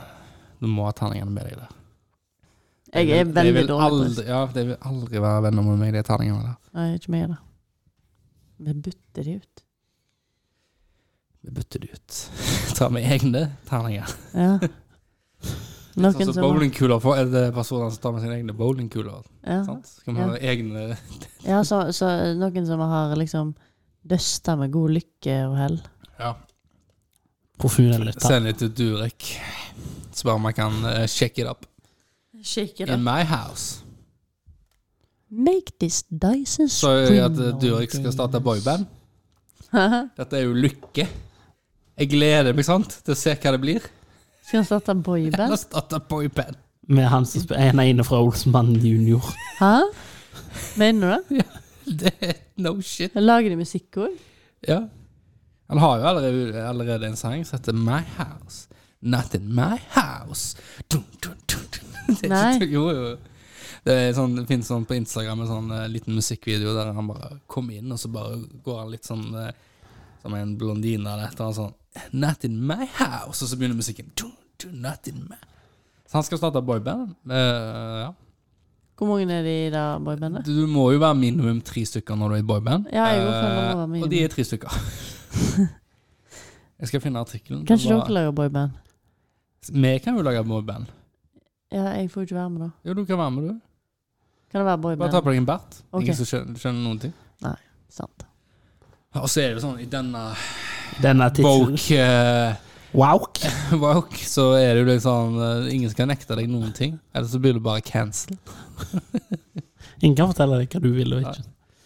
[SPEAKER 4] Du må ha terningene med deg der.
[SPEAKER 1] Jeg er
[SPEAKER 4] Det vil
[SPEAKER 1] veldig dårlig på det.
[SPEAKER 4] aldri, Ja, det vil aldri være venner med meg, de terningene der.
[SPEAKER 1] Nei, ikke meg, da. Vi bytter de ut.
[SPEAKER 4] Vi bytter det ut. Tar med egne terninger.
[SPEAKER 1] Ja. Noen
[SPEAKER 4] Sånn som
[SPEAKER 1] som
[SPEAKER 4] bowlingkuler for er det personer som tar med sine egne bowlingkuler.
[SPEAKER 1] ja.
[SPEAKER 4] Sant? Skal man ha egne
[SPEAKER 1] ja, så, så noen som har liksom døsta med god lykke og hell.
[SPEAKER 4] Ja.
[SPEAKER 3] Profyren litt her.
[SPEAKER 4] Send det til Durek. Spør om jeg kan eh, check it up.
[SPEAKER 1] Shake
[SPEAKER 4] In my house.
[SPEAKER 1] Make this Dyson
[SPEAKER 4] Så er det at eh, Durek skal starte boyband.
[SPEAKER 1] Haha.
[SPEAKER 4] Dette er jo lykke. Jeg gleder meg sant, til å se hva det blir.
[SPEAKER 1] Skal han starte boyband?
[SPEAKER 4] Eller starte boyband.
[SPEAKER 3] Med han som spiller en ene fra Olsenmannen junior.
[SPEAKER 1] Hæ? Mener du det?
[SPEAKER 4] Det er no shit.
[SPEAKER 1] Lager de musikkord?
[SPEAKER 4] Ja. Han har jo allerede, allerede en sang som heter My House. Not in my house. Dun, dun, dun, dun. Det er
[SPEAKER 1] Nei.
[SPEAKER 4] ikke- Jo, jo. Det, er sånn, det finnes sånn på Instagram en sånn eh, liten musikkvideo der han bare kommer inn, og så bare går han litt sånn eh, som en blondine eller et eller annet sånn Not in my house. Og så begynner musikken. Dun, dun, not in my Så han skal starte boyband. eh, ja.
[SPEAKER 1] Hvor mange er de i det boybandet?
[SPEAKER 4] Du må jo være minimum tre stykker når du er i boyband.
[SPEAKER 1] Ja, jeg går for at man må
[SPEAKER 4] Eh,
[SPEAKER 1] være minimum.
[SPEAKER 4] og de er tre stykker. jeg skal finne artikkelen.
[SPEAKER 1] Kanskje
[SPEAKER 4] Det var-
[SPEAKER 1] dere lager boyband?
[SPEAKER 4] Vi kan jo lage boyband.
[SPEAKER 1] Ja, jeg får jo ikke være med, da.
[SPEAKER 4] Jo, du kan være med, du.
[SPEAKER 1] Kan det være
[SPEAKER 4] Bare ta
[SPEAKER 1] boyband?
[SPEAKER 4] på deg en bart.
[SPEAKER 1] Ok.
[SPEAKER 4] Ingen som skjønner, skjønner noen ting.
[SPEAKER 1] Sant.
[SPEAKER 4] Og så er det jo sånn i denne
[SPEAKER 3] Denne tidselen.
[SPEAKER 4] woke, eh,
[SPEAKER 3] Wow.
[SPEAKER 4] woke så er det jo liksom eh, ingen som kan nekte deg noen ting. Eller så blir du bare cancelled.
[SPEAKER 3] Ingen kan fortelle deg hva du vil og ikke.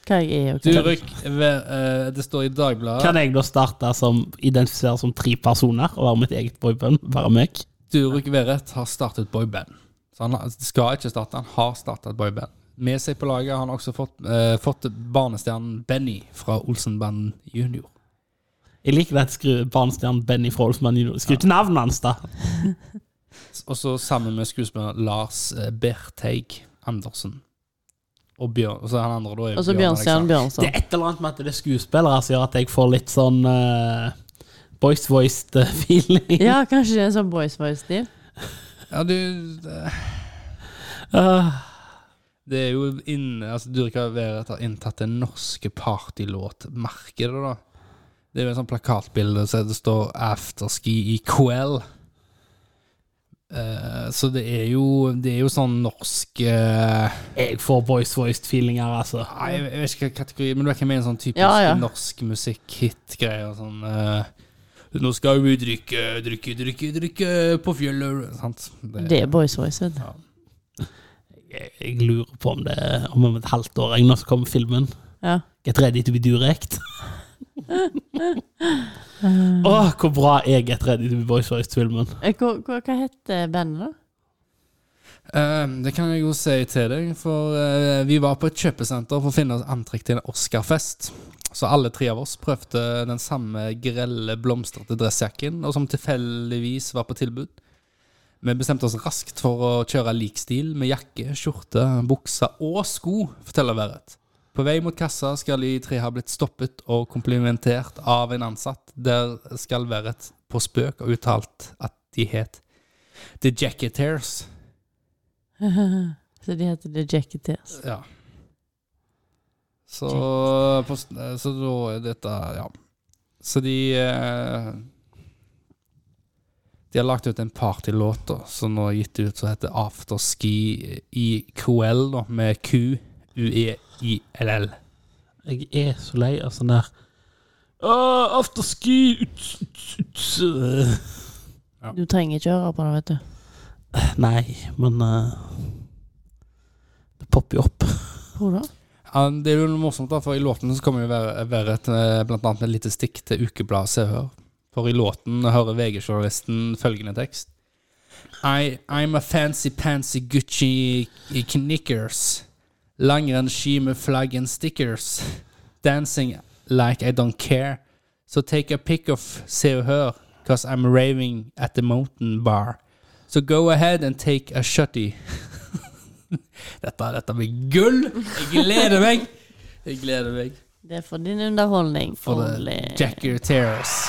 [SPEAKER 1] Hva jeg er
[SPEAKER 4] Du,
[SPEAKER 1] også.
[SPEAKER 4] Røk, ve- eh, det står i Dagbladet
[SPEAKER 3] Kan jeg da starte som identifisere som tre personer og være mitt eget boyband? Være meg?
[SPEAKER 4] Durek Verrett har startet boyband. Så han har- skal ikke starte, han har startet boyband. Med seg på laget har han også fått, eh, fått barnestjernen Benny fra Olsenbanden Junior.
[SPEAKER 3] Jeg liker det skru barnestjernen Benny fra Olsenmannen junior. Skru til navnet hans, da.
[SPEAKER 4] Og så sammen med skuespiller Lars eh, Berteig Andersen. Og Bjørn, og så han andre da er
[SPEAKER 1] Og så Bjørn Stjerne
[SPEAKER 4] Alexander.
[SPEAKER 3] Det
[SPEAKER 1] Bjørnson.
[SPEAKER 3] er et eller annet med at det er skuespillere som gjør at jeg får litt sånn eh, Boys voiced eh, feeling.
[SPEAKER 1] Ja, kanskje det er en sånn Boys Voice-stil.
[SPEAKER 4] Ja, du, det-
[SPEAKER 3] Ah,
[SPEAKER 4] det er jo inne altså Durek Verrett har inntatt det norske partylåtmarkedet, da. Det er jo en sånn plakatbilde så det står 'Afterski i KL'. Eh, så det er jo Det er jo sånn norsk eh,
[SPEAKER 3] jeg får boys voiced feelinger, altså.
[SPEAKER 4] Nei, jeg jeg vet ikke hva kategori Men du vet hva jeg mener? Sånn typisk
[SPEAKER 1] Ja, ja.
[SPEAKER 4] norsk musikk-hit-greier. Sånn eh, 'Nå skal vi drikke, drikke, drikke, drikke på fjellet' Sant?
[SPEAKER 1] Det er Boys Voice, vet du.
[SPEAKER 4] ja.
[SPEAKER 3] Jeg, jeg lurer på om det er om et halvt år jeg, nå så kommer filmen.
[SPEAKER 1] Ja.
[SPEAKER 3] Get ready to be direct. Åh, hvor bra er Get ready to be boys voiced-filmen.
[SPEAKER 1] Eh, Hva, hva, hva heter bandet, da?
[SPEAKER 4] Eh, det kan jeg jo si til deg, for eh, vi var på et kjøpesenter for å finne oss antrekk til en Oscarfest. Så alle tre av oss prøvde den samme grelle, blomstrete dressjakken, og som tilfeldigvis var på tilbud. Vi bestemte oss raskt for å kjøre lik stil med jakke, skjorte, bukse og sko, forteller Verret. På vei mot kassa skal de tre ha blitt stoppet og komplimentert av en ansatt. Der skal Verret på spøk ha uttalt at de het The Jacketeers.
[SPEAKER 1] Så de heter The Jacketeers.
[SPEAKER 4] Ja. Så, på, eh, så da er dette Ja. Så de eh, De har lagt ut en partylåt da, som nå er gitt ut, som heter Afterski i QL, da, med Q, E U-E-I-L-L.
[SPEAKER 3] Jeg er så lei av sånn der Åh, afterski uts, uts, uts. øh.
[SPEAKER 1] Du trenger ikke høre på det, vet du.
[SPEAKER 3] Nei, men eh, Det popper jo opp.
[SPEAKER 1] Hvor da?
[SPEAKER 4] Ja, det er jo noe morsomt, da, for i låten så kommer jo være, være et, eh, blant annet et lite stikk til ukebladet Se og Hør. For i låten hører VG-journalisten følgende tekst. I, I'm a fancy-pancy Gucci knickers. Langrennsski med flagg and stickers. Dancing like I don't care. So take a pick of Se og Hør, cause I'm raving at the mountain bar. So go ahead and take a shutty. Dette, dette blir gull! Jeg gleder meg! Jeg gleder meg.
[SPEAKER 1] Det er for din underholdning.
[SPEAKER 4] For the
[SPEAKER 1] Only.
[SPEAKER 4] Jacker Terrace.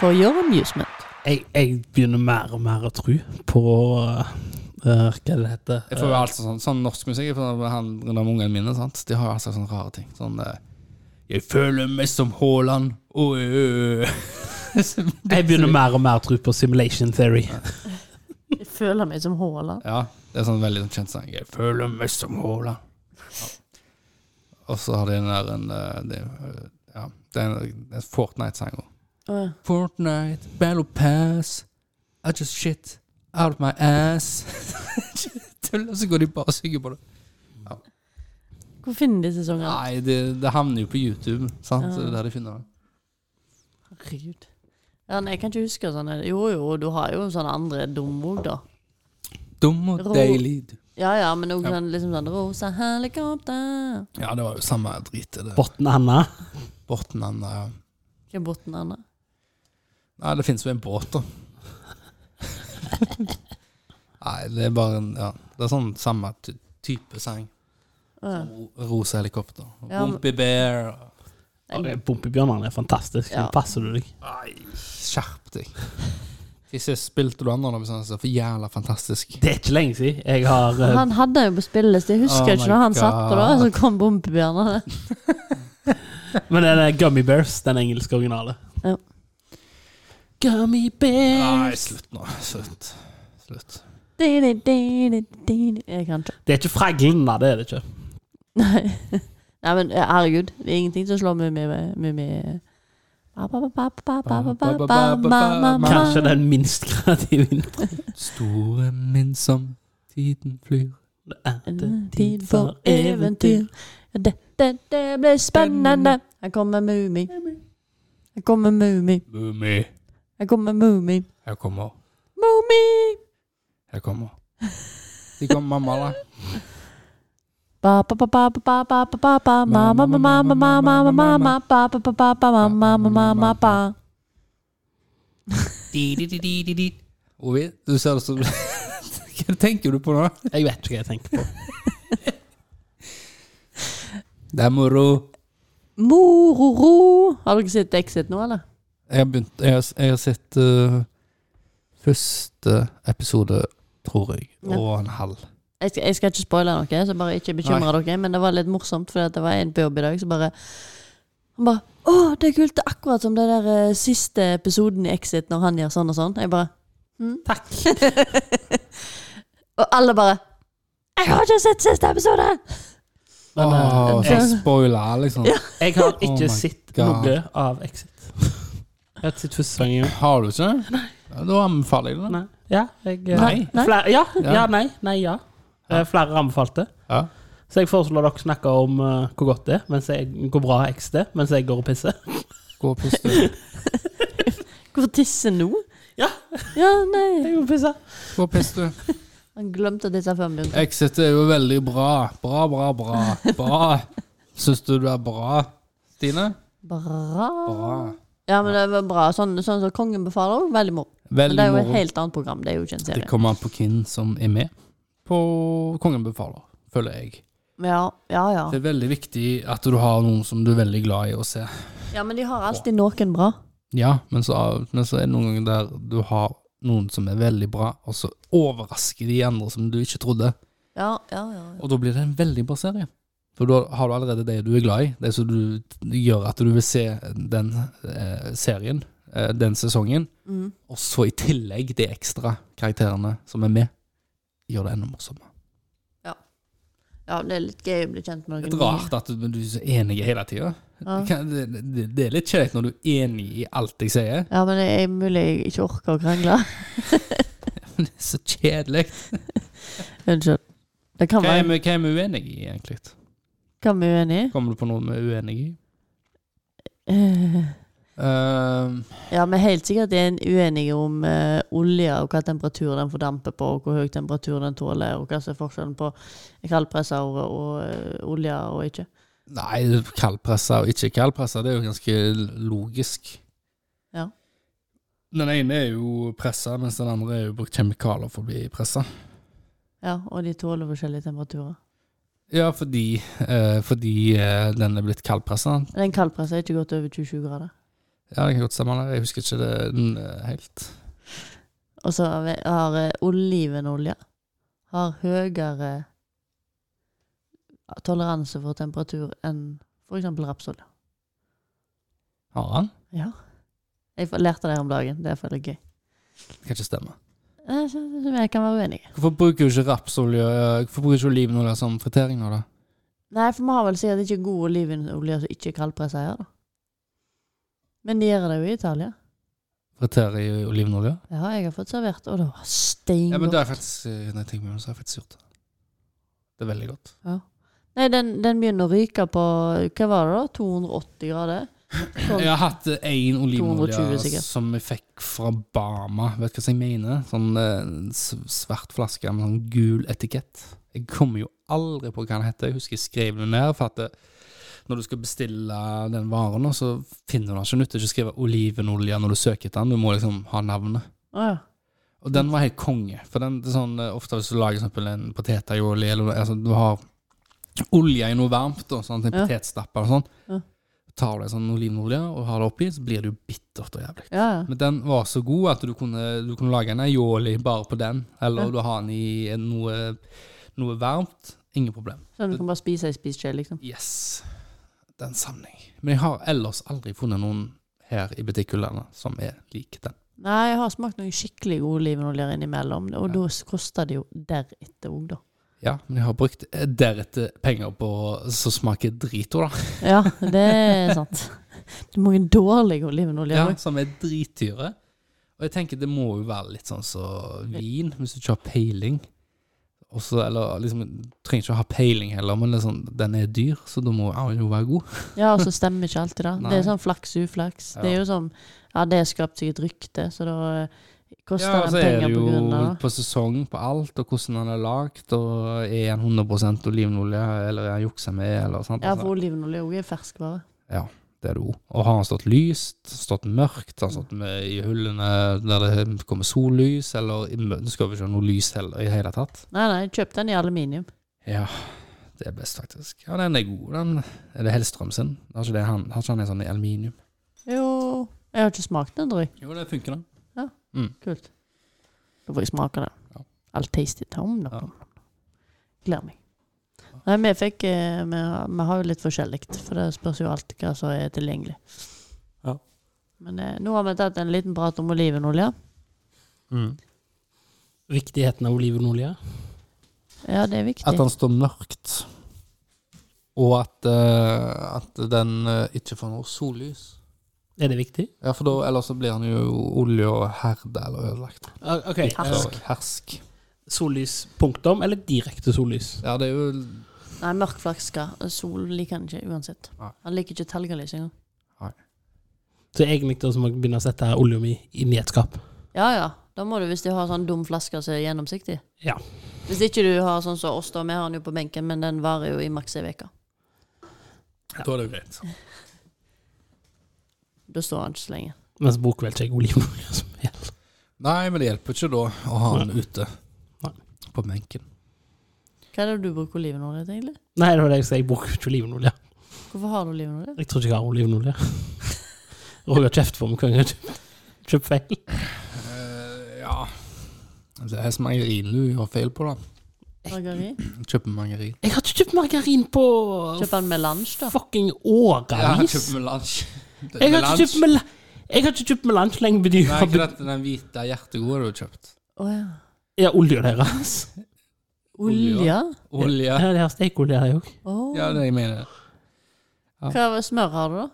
[SPEAKER 1] For your amusement.
[SPEAKER 3] jeg, jeg begynner mer og mer å tro på eh, eh, Hva det heter
[SPEAKER 4] Jeg får jo altså sånn, sånn norsk musikk jeg får han, de ungene mine. sant? De har jo altså sånne rare ting. Sånn eh, Jeg føler meg som Haaland. Oi, oi, oi.
[SPEAKER 3] Jeg begynner mer og mer å tro på simulation theory.
[SPEAKER 1] Jeg føler meg som Haaland.
[SPEAKER 4] Ja, det er sånn veldig sånn kjent sang. Jeg føler meg som Haaland. Ja. Og så har de den der en eh, det, eh, Ja, det er en, det er en Fortnite-sang òg.
[SPEAKER 1] Å, ja.
[SPEAKER 4] Fortnite, Battle Pass, I just shit out of my ass. Tull, og så går de bare og synger på det.
[SPEAKER 1] Hvor finner de disse sangene?
[SPEAKER 4] Nei, det, det havner jo på YouTube, sant?
[SPEAKER 1] Ja.
[SPEAKER 4] Det er der de finner det.
[SPEAKER 1] Herregud. Ja, nei, jeg kan ikke huske sånne Jo jo, du har jo sånne andre dumord, da.
[SPEAKER 4] Dum og
[SPEAKER 1] Rå.
[SPEAKER 4] deilig. du.
[SPEAKER 1] Ja ja, men også
[SPEAKER 4] Ja.
[SPEAKER 1] sånn, liksom sånn rosa helikopter
[SPEAKER 4] Ja, det var jo samme drit i det.
[SPEAKER 3] Botten Anna.
[SPEAKER 4] Borten han ja.
[SPEAKER 1] Hva er båten Anna?
[SPEAKER 4] Nei, det finnes jo en båt, da. Nei, det er bare en Ja, det er sånn samme ty type sang.
[SPEAKER 1] Å, ja.
[SPEAKER 4] Ro- Rosa helikopter.
[SPEAKER 1] Ja, men-
[SPEAKER 4] Rumpy bear.
[SPEAKER 1] Nei,
[SPEAKER 3] Pumpebjørnene er fantastisk.
[SPEAKER 1] Ja.
[SPEAKER 3] Nå passer du deg.
[SPEAKER 4] Nei, skjerp deg. Sist jeg spilte du andre, da, så for jævla fantastisk.
[SPEAKER 3] Det er ikke lenge siden. Jeg har eh,
[SPEAKER 1] Han hadde jo på spilleliste. Jeg husker
[SPEAKER 4] Oh
[SPEAKER 1] ikke
[SPEAKER 4] my
[SPEAKER 1] når han satt på det,
[SPEAKER 4] God.
[SPEAKER 1] så kom bompebjørnene.
[SPEAKER 3] Men den er Gummy Bears, den engelske originale.
[SPEAKER 1] Ja.
[SPEAKER 3] Gummy
[SPEAKER 4] Nei,
[SPEAKER 3] Bears
[SPEAKER 4] slutt nå. Slutt. Slutt.
[SPEAKER 1] Jeg kan ikke.
[SPEAKER 3] Det er ikke fra Glinda, det er det ikke.
[SPEAKER 1] Nei. Nei, men herregud. Det er ingenting som slår Mummi
[SPEAKER 3] Kanskje den minst kreative introen.
[SPEAKER 4] Store min som tiden flyr.
[SPEAKER 3] Det er
[SPEAKER 1] En tid for eventyr. Ja, Det, det, det blir spennende. Her kommer Mummi. Her kommer Mummi.
[SPEAKER 4] Boomy.
[SPEAKER 1] Her kommer Mummi.
[SPEAKER 4] Her kommer
[SPEAKER 1] Mummi!
[SPEAKER 4] Her kommer De kommer, mamma, da.
[SPEAKER 1] Ba, ba, ba, ba, ba, ba, ba, ba, ba, ma, ma, ma, ma, ma, ma, ma, ma, ma, ma, ba, ba, ba, ba, ba, ma, ma, ma, ma, ma, ba.
[SPEAKER 4] Di-di-di-di-di-di. Ovi, du ser det som Hva tenker du på nå?
[SPEAKER 3] Jeg vet ikke hva jeg tenker på.
[SPEAKER 4] Det er moro.
[SPEAKER 1] Mororo. Har dere sett Exit nå, eller?
[SPEAKER 4] Jeg har begynt Jeg har, jeg har sett eh, første episode, tror jeg,
[SPEAKER 1] Ja.
[SPEAKER 4] og en halv.
[SPEAKER 1] Jeg skal, jeg skal ikke spoile noe, så bare ikke bekymre dere. Men det var litt morsomt, for det var en på jobb i dag som bare Han bare 'Å, det er kult. Det er akkurat som det der eh, siste episoden i Exit, når han gjør sånn og sånn.' Jeg bare
[SPEAKER 3] Takk.
[SPEAKER 1] Og alle bare 'Jeg har ikke sett siste episode!'
[SPEAKER 3] Men, eh,
[SPEAKER 4] Åh, så
[SPEAKER 3] jeg,
[SPEAKER 4] spoiler, liksom.
[SPEAKER 3] jeg har ikke
[SPEAKER 4] Oh my
[SPEAKER 3] sett
[SPEAKER 4] God.
[SPEAKER 3] noe av Exit. Jeg har ikke sett første sangen.
[SPEAKER 4] Har du ikke det? Ja, da anbefaler jeg det. da.
[SPEAKER 3] Nei. Ja, jeg, eh,
[SPEAKER 1] Nei. Nei.
[SPEAKER 3] Flere, ja,
[SPEAKER 4] Ja.
[SPEAKER 3] ja, nei, nei, ja. Eh, Flere anbefalte.
[SPEAKER 4] Ja.
[SPEAKER 3] Så jeg foreslår dere snakker om eh, hvor godt det er, mens jeg, hvor bra XD er, mens jeg går og pisser.
[SPEAKER 4] Gå og puste. Gå
[SPEAKER 1] Hvorfor tisse nå?
[SPEAKER 3] Ja.
[SPEAKER 1] Ja, nei.
[SPEAKER 3] Jeg går og pisser.
[SPEAKER 4] og puste.
[SPEAKER 1] Han glemte å tisse før han begynte.
[SPEAKER 4] Exit er jo veldig bra. Bra, bra, bra. Bra. Syns du du er bra, Stine?
[SPEAKER 1] Bra.
[SPEAKER 4] Bra.
[SPEAKER 1] Ja, men det var bra. Sånn, sånn som Kongen befaler òg. Veldig moro. Men det
[SPEAKER 4] Veldig
[SPEAKER 1] er jo et
[SPEAKER 4] moro.
[SPEAKER 1] helt annet program. Det er jo ikke en
[SPEAKER 4] Det
[SPEAKER 1] serie.
[SPEAKER 4] kommer an på hvem som er med på Kongen befaler, føler jeg.
[SPEAKER 1] Men Ja, ja, ja.
[SPEAKER 4] Det er veldig viktig at du har noen som du er veldig glad i å se.
[SPEAKER 1] ja men de har alltid noen bra.
[SPEAKER 4] Ja, men så, men så er det noen ganger der du har noen som er veldig bra, og så overrasker de andre som du ikke trodde.
[SPEAKER 1] Ja, ja, ja. ja.
[SPEAKER 4] Og da blir det en veldig bra serie. For da har du allerede det du er glad i, det som du gjør at du vil se den eh, serien, eh, den sesongen,
[SPEAKER 1] Mm.
[SPEAKER 4] og så i tillegg de ekstra karakterene som er med, gjør det enda morsommere.
[SPEAKER 1] ja det er litt gøy å bli kjent med noen.
[SPEAKER 4] Litt rart at du, du er så enig hele tida.
[SPEAKER 1] Ja.
[SPEAKER 4] Det, kan- det, det, det er litt kjedelig når du er enig i alt jeg sier.
[SPEAKER 1] Ja, men det er mulig jeg ikke orker å krangle.
[SPEAKER 4] Det er så kjedelig.
[SPEAKER 1] Unnskyld. Det kan
[SPEAKER 4] Hva er
[SPEAKER 1] være
[SPEAKER 4] vi, hva er vi uenige i, egentlig?
[SPEAKER 1] kan vi uenig i.
[SPEAKER 4] Kommer du på noe vi er uenige i?
[SPEAKER 1] Eh,
[SPEAKER 4] Ehm,
[SPEAKER 1] Ja, vi er helt sikkert en- uenige om eh, olje, og hva temperatur den fordamper på, og hvor høy temperatur den tåler, og hva som er forskjellen på kaldpressa og, og eh, olje og ikke.
[SPEAKER 4] nei, kaldpressa og ikke kaldpressa, det er jo ganske logisk.
[SPEAKER 1] Ja.
[SPEAKER 4] Den ene er jo pressa, mens den andre er jo brukt kjemikalier for å bli pressa.
[SPEAKER 1] Ja, og de tåler forskjellige temperaturer.
[SPEAKER 4] Ja, fordi, eh, fordi eh, den er blitt kaldpressa.
[SPEAKER 1] Men en kaldpressa er ikke godt over 27 grader.
[SPEAKER 4] Ja, det kan godt stemme, det. jeg husker ikke det den, eh, helt.
[SPEAKER 1] Og så har vi- har eh, olivenolje har høyere toleranse for temperatur enn for eksempel rapsolje.
[SPEAKER 4] Har han?
[SPEAKER 1] Ja. Jeg får- lærte det her om dagen. Det er for gøy.
[SPEAKER 4] Det kan ikke stemme.
[SPEAKER 1] Eh, så- så Jeg kan være uenig.
[SPEAKER 4] Hvorfor bruker du ikke rapsolje eh, Hvorfor bruker du ikke olivenolje som fritering nå, da?
[SPEAKER 1] Nei, for vi har vel sikkert ikke god olivenolje som ikke er kaldpressa her, da. Men de gjør det jo i Italia.
[SPEAKER 4] Fritere i olivenolje?
[SPEAKER 1] Ja, jeg har fått servert, og det var
[SPEAKER 4] Ja, men
[SPEAKER 1] steingodt.
[SPEAKER 4] det er faktisk eh, Når jeg tenker meg om, så har jeg faktisk gjort det. Det er veldig godt.
[SPEAKER 1] Nei, den, den begynner å ryke på Hva var det, da? 280 grader? Sånn.
[SPEAKER 4] Jeg har hatt én olivenolje
[SPEAKER 1] 220 sikkert.
[SPEAKER 4] som jeg fikk fra Bama. Vet du hva jeg mener? Sånn eh, s- svart flaske med sånn gul etikett. Jeg kommer jo aldri på hva den heter. Jeg husker jeg skrev det ned. For at det, når du skal bestille den varen, så finner du den ikke. Du nytter ikke å skrive olivenolje når du søker etter den. Du må liksom ha navnet.
[SPEAKER 1] Å ja.
[SPEAKER 4] Og den var helt konge. For den det er sånn, eh, ofte hvis du lager for eksempel en potetaioli, eller noe, altså, du har olje i noe varmt, og sånn, en
[SPEAKER 1] Ja.
[SPEAKER 4] potetstapper og sånn,
[SPEAKER 1] Ja.
[SPEAKER 4] tar du en sånn olivenolje og har det oppi, så blir det jo bittert og jævlig.
[SPEAKER 1] ja, ja.
[SPEAKER 4] Men den var så god at du kunne, du kunne lage en aioli bare på den, eller du har den i en- noe, noe varmt. Ingen problem.
[SPEAKER 1] Sånn du kan bare spise ei spiseskje, liksom.
[SPEAKER 4] Yes. Den savner jeg. Men jeg har ellers aldri funnet noen her i butikkhyllene som er lik den.
[SPEAKER 1] Nei, jeg har smakt noen skikkelig gode olivenoljer innimellom, og da koster det jo deretter òg, da.
[SPEAKER 4] Ja, men jeg har brukt eh, deretter penger på som smaker drito, da.
[SPEAKER 1] Ja, det er sant. Det er mange dårlige olivenoljer
[SPEAKER 4] Ja,
[SPEAKER 1] òg.
[SPEAKER 4] som er dritdyre. Og jeg tenker det må jo være litt sånn som vin, hvis du ikke har peiling. Også, eller liksom, du trenger ikke å ha peiling heller, men det er sånn, den er dyr, så da må ja, den jo være god.
[SPEAKER 1] Ja, og så stemmer ikke alltid det. Det
[SPEAKER 4] Nei.
[SPEAKER 1] er sånn flaks uflaks. Det er
[SPEAKER 4] Ja.
[SPEAKER 1] jo sånn Ja, det har skapt seg et rykte, så da eh, koster
[SPEAKER 4] Ja, og så
[SPEAKER 1] den
[SPEAKER 4] er det
[SPEAKER 1] penger på
[SPEAKER 4] jo
[SPEAKER 1] grunn av det.
[SPEAKER 4] på sesong på alt, og hvordan den er lagd, og er den 100 olivenolje, eller er den juksa med, eller sånt.
[SPEAKER 1] Ja,
[SPEAKER 4] altså.
[SPEAKER 1] for olivenolje òg er ferskvare.
[SPEAKER 4] Det er det òg. Og har han stått lyst, stått mørkt, har han stått med i hullene der det kommer sollys, eller i mø- Du skal vel ikke ha noe lys heller i hele tatt?
[SPEAKER 1] Nei, nei, kjøp den i aluminium.
[SPEAKER 4] Ja, det er best, faktisk. Ja, den er god, den. Er det Hellstrøm sin? Har ikke, det, han, har ikke han en sånn i aluminium?
[SPEAKER 1] Jo Jeg har ikke smakt den, tror jeg.
[SPEAKER 4] Jo, det funker, da.
[SPEAKER 1] Kult. Da får jeg smake
[SPEAKER 4] Ja.
[SPEAKER 1] den. All tasty tom.
[SPEAKER 4] Ja.
[SPEAKER 1] da. Gleder meg. Nei, vi fikk eh, Vi har, vi har jo litt forskjellig, for det spørs jo alt hva som er tilgjengelig.
[SPEAKER 3] Ja.
[SPEAKER 1] Men eh, nå har vi tatt en liten prat om olivenolje.
[SPEAKER 4] Mm.
[SPEAKER 3] Riktigheten av olivenolje.
[SPEAKER 1] Ja, det er
[SPEAKER 4] At
[SPEAKER 1] viktig.
[SPEAKER 4] han står mørkt, og at, eh, at den eh, ikke får noe sollys.
[SPEAKER 3] Er det viktig?
[SPEAKER 4] Ja, for da, ellers så blir han jo olje og herde eller ødelagt.
[SPEAKER 3] OK.
[SPEAKER 1] Hersk.
[SPEAKER 4] Så, hersk.
[SPEAKER 3] Sollys punktum eller direkte sollys?
[SPEAKER 4] Ja, det er jo
[SPEAKER 1] Nei, mørk flaks skal. Sol liker han ikke uansett.
[SPEAKER 4] Nei.
[SPEAKER 1] Han liker ikke talgelys engang.
[SPEAKER 3] Så egentlig da så må jeg begynne å sette olja mi inn i et skap.
[SPEAKER 1] Ja ja, da må du hvis de har sånn dum flaske som er gjennomsiktig.
[SPEAKER 3] Ja.
[SPEAKER 1] Hvis ikke du har sånn som oss, da. Vi har den jo på benken, men den varer jo i maks ei uke.
[SPEAKER 4] Da er det jo greit.
[SPEAKER 1] Da står han ikke så lenge.
[SPEAKER 3] Men så bruker vel ikke jeg olivenolje som helst.
[SPEAKER 4] Nei, men det hjelper ikke da å ha den ute
[SPEAKER 3] Nei.
[SPEAKER 4] på benken.
[SPEAKER 1] Hva er det du bruker olivenolje til, egentlig?
[SPEAKER 3] Nei, det var det jeg sa, jeg bruker ikke olivenolje.
[SPEAKER 1] Hvorfor har du olivenolje?
[SPEAKER 3] Jeg tror ikke jeg har olivenolje. Roger har kjeft på meg hver gang jeg har kjøpt- kjøpt feil.
[SPEAKER 4] ja Det er margarin du Altså, har feil på, da.
[SPEAKER 1] Margarin?
[SPEAKER 4] Kjøper margarin.
[SPEAKER 3] Jeg har ikke kjøpt margarin på
[SPEAKER 1] Kjøp den med lunsj, da.
[SPEAKER 3] fucking årevis.
[SPEAKER 4] melange.
[SPEAKER 3] Jeg har ikke kjøpt mel- jeg har ikke kjøpt melange lenge fordi hun
[SPEAKER 4] Nei,
[SPEAKER 3] har
[SPEAKER 4] ikke
[SPEAKER 3] begynt-
[SPEAKER 4] dette, den hvite hjertegode du har kjøpt.
[SPEAKER 1] Å ja.
[SPEAKER 3] ja, olja deres.
[SPEAKER 1] Olje?
[SPEAKER 4] Olje.
[SPEAKER 3] Ja, det har stekeolje her òg.
[SPEAKER 1] Å.
[SPEAKER 4] Ja, det jeg mener.
[SPEAKER 1] Hva er smør har du, da?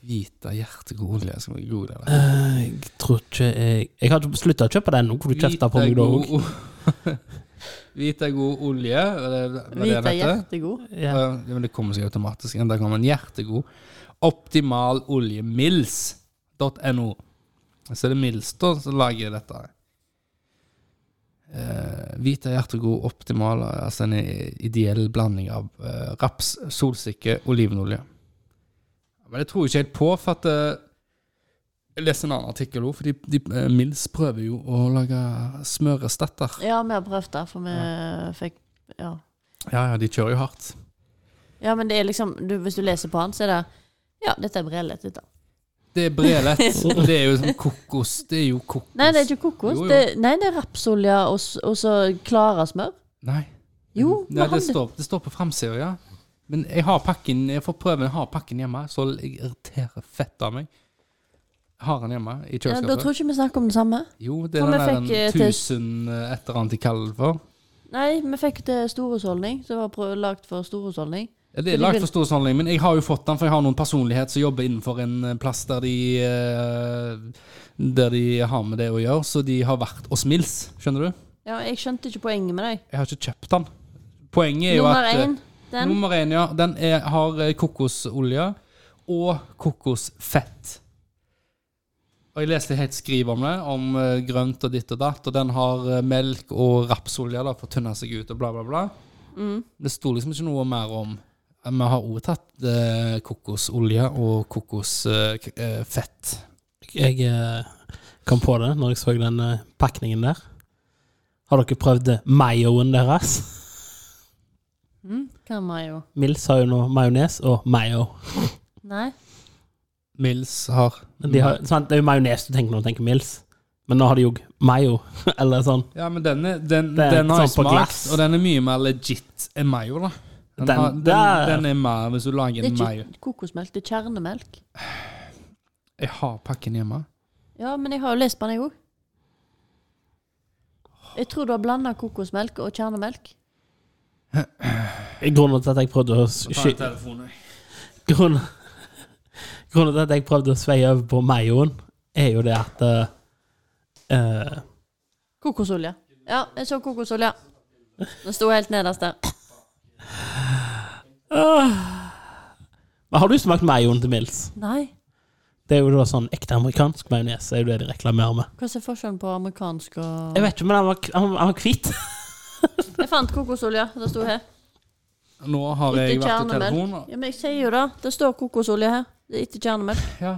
[SPEAKER 4] Hvite hjertegod olje. Skal vi google det?
[SPEAKER 3] Jeg tror ikke jeg Jeg har slutta å kjøpe den nå, hvor du kjefta på meg da òg.
[SPEAKER 4] Hvite er god olje. Var det var
[SPEAKER 1] Hvit
[SPEAKER 4] det den
[SPEAKER 1] er
[SPEAKER 4] heter?
[SPEAKER 1] hjertegod.
[SPEAKER 3] Ja.
[SPEAKER 4] Ja, men det kommer seg automatisk igjen. Der kommer en hjertegod optimaloljemils.no. Så er det Mils da som lager dette. Eh, Hvite hjertegod optimal, altså en ideell blanding av eh, raps, solsikke, olivenolje. Men det tror jeg ikke helt på, for at eh, Jeg leste en annen artikkel òg, for de, de, eh, Mils prøver jo å lage smørestatter.
[SPEAKER 1] Ja, vi har prøvd det, for vi fikk Ja.
[SPEAKER 4] Ja, ja, de kjører jo hardt.
[SPEAKER 1] Ja, men det er liksom du, Hvis du leser på han, så er det Ja, dette er brellet, dette.
[SPEAKER 4] Det er brelett, og det er jo sånn kokos. Det er jo kokos.
[SPEAKER 1] Nei, det er ikke kokos.
[SPEAKER 4] Jo, jo.
[SPEAKER 1] Det, nei, det er rapsolje og, s- og så klara smør.
[SPEAKER 4] Nei.
[SPEAKER 1] Jo,
[SPEAKER 4] Nei,
[SPEAKER 1] men
[SPEAKER 4] det,
[SPEAKER 1] han-
[SPEAKER 4] står, det står på framsida, ja. Men jeg har pakken, jeg får prøve, jeg har pakken hjemme, så jeg irriterer fett av meg. Har han hjemme i
[SPEAKER 1] Ja, da
[SPEAKER 4] kjøleskapet?
[SPEAKER 1] tror jeg ikke vi snakker om det samme.
[SPEAKER 4] jo, det er
[SPEAKER 1] Som
[SPEAKER 4] den
[SPEAKER 1] vi
[SPEAKER 4] der
[SPEAKER 1] fikk, eh,
[SPEAKER 4] den
[SPEAKER 1] til-
[SPEAKER 4] tusen eh, et eller annet de kaller det for.
[SPEAKER 1] Nei, vi fikk til storhusholdning, så det var prøv- lagt for storhusholdning.
[SPEAKER 4] Ja, det
[SPEAKER 1] Så
[SPEAKER 4] er
[SPEAKER 1] de
[SPEAKER 4] lagd
[SPEAKER 1] vil-
[SPEAKER 4] for stor sammenligning, men jeg har jo fått den, for jeg har noen personlighet som jobber innenfor en eh, plass der de, eh, der de har med det å gjøre, så de har vært hos Mills, skjønner du?
[SPEAKER 1] Ja, jeg skjønte ikke poenget med deg.
[SPEAKER 4] Jeg har ikke kjøpt den. Poenget er jo
[SPEAKER 1] Nummer
[SPEAKER 4] at eh,
[SPEAKER 1] én, den.
[SPEAKER 4] Nummer én, ja. Den er, har eh, kokosolje og kokosfett. Og Jeg leste helt skriv om det, om eh, grønt og ditt og datt. Og den har eh, melk og rapsolje da, for å tynne seg ut og bla, bla, bla.
[SPEAKER 1] Mm.
[SPEAKER 4] Det sto liksom ikke noe mer om Eh, Vi har også tatt eh, kokosolje og kokosfett. Eh, fett.
[SPEAKER 3] Jeg eh, kom på det når jeg så den eh, pakningen der. Har dere prøvd mayoen deres?
[SPEAKER 1] Kan man jo.
[SPEAKER 3] Mills har jo nå majones og mayo.
[SPEAKER 1] Nei.
[SPEAKER 4] Mills har
[SPEAKER 3] Men De har, sant? Det er jo majones du tenker når du tenker Mills, men nå har de jo mayo. Eller sånn.
[SPEAKER 4] Ja, men denne, den,
[SPEAKER 3] Det er
[SPEAKER 4] den har jeg
[SPEAKER 3] sånn på
[SPEAKER 4] smakt,
[SPEAKER 3] glass.
[SPEAKER 4] og den er mye mer legit enn mayo, da. Den,
[SPEAKER 3] Den-
[SPEAKER 4] har, den,
[SPEAKER 3] der.
[SPEAKER 4] den er mer hvis du lager
[SPEAKER 1] Det er
[SPEAKER 4] en mayo.
[SPEAKER 1] ikke kokosmelk, det er kjernemelk.
[SPEAKER 4] Jeg har pakken hjemme.
[SPEAKER 1] Ja, men jeg har jo lest på den, jeg òg. Jeg tror du har blanda kokosmelk og kjernemelk.
[SPEAKER 3] Grunnen til at jeg prøvde å sky- Grunnen, grunnen til at jeg prøvde å sveie over på mayoen, er jo det at eh,
[SPEAKER 1] Kokosolje. Ja, jeg så kokosolje. Den sto helt nederst der.
[SPEAKER 3] Men Har du smakt mayoen til Mills?
[SPEAKER 1] Nei.
[SPEAKER 3] Det er jo da sånn ekte amerikansk majones. er jo det de reklamerer med.
[SPEAKER 1] Hva er forskjellen på amerikansk og
[SPEAKER 3] Jeg vet ikke, men han var, han, han var hvit.
[SPEAKER 1] Jeg fant kokosolje. Det sto her.
[SPEAKER 4] Nå har jeg
[SPEAKER 1] Ikke
[SPEAKER 4] vært i telefonen.
[SPEAKER 1] kjernemelk. Ja, men jeg sier jo det. Det står kokosolje her. Det er ikke kjernemelk.
[SPEAKER 4] Ja.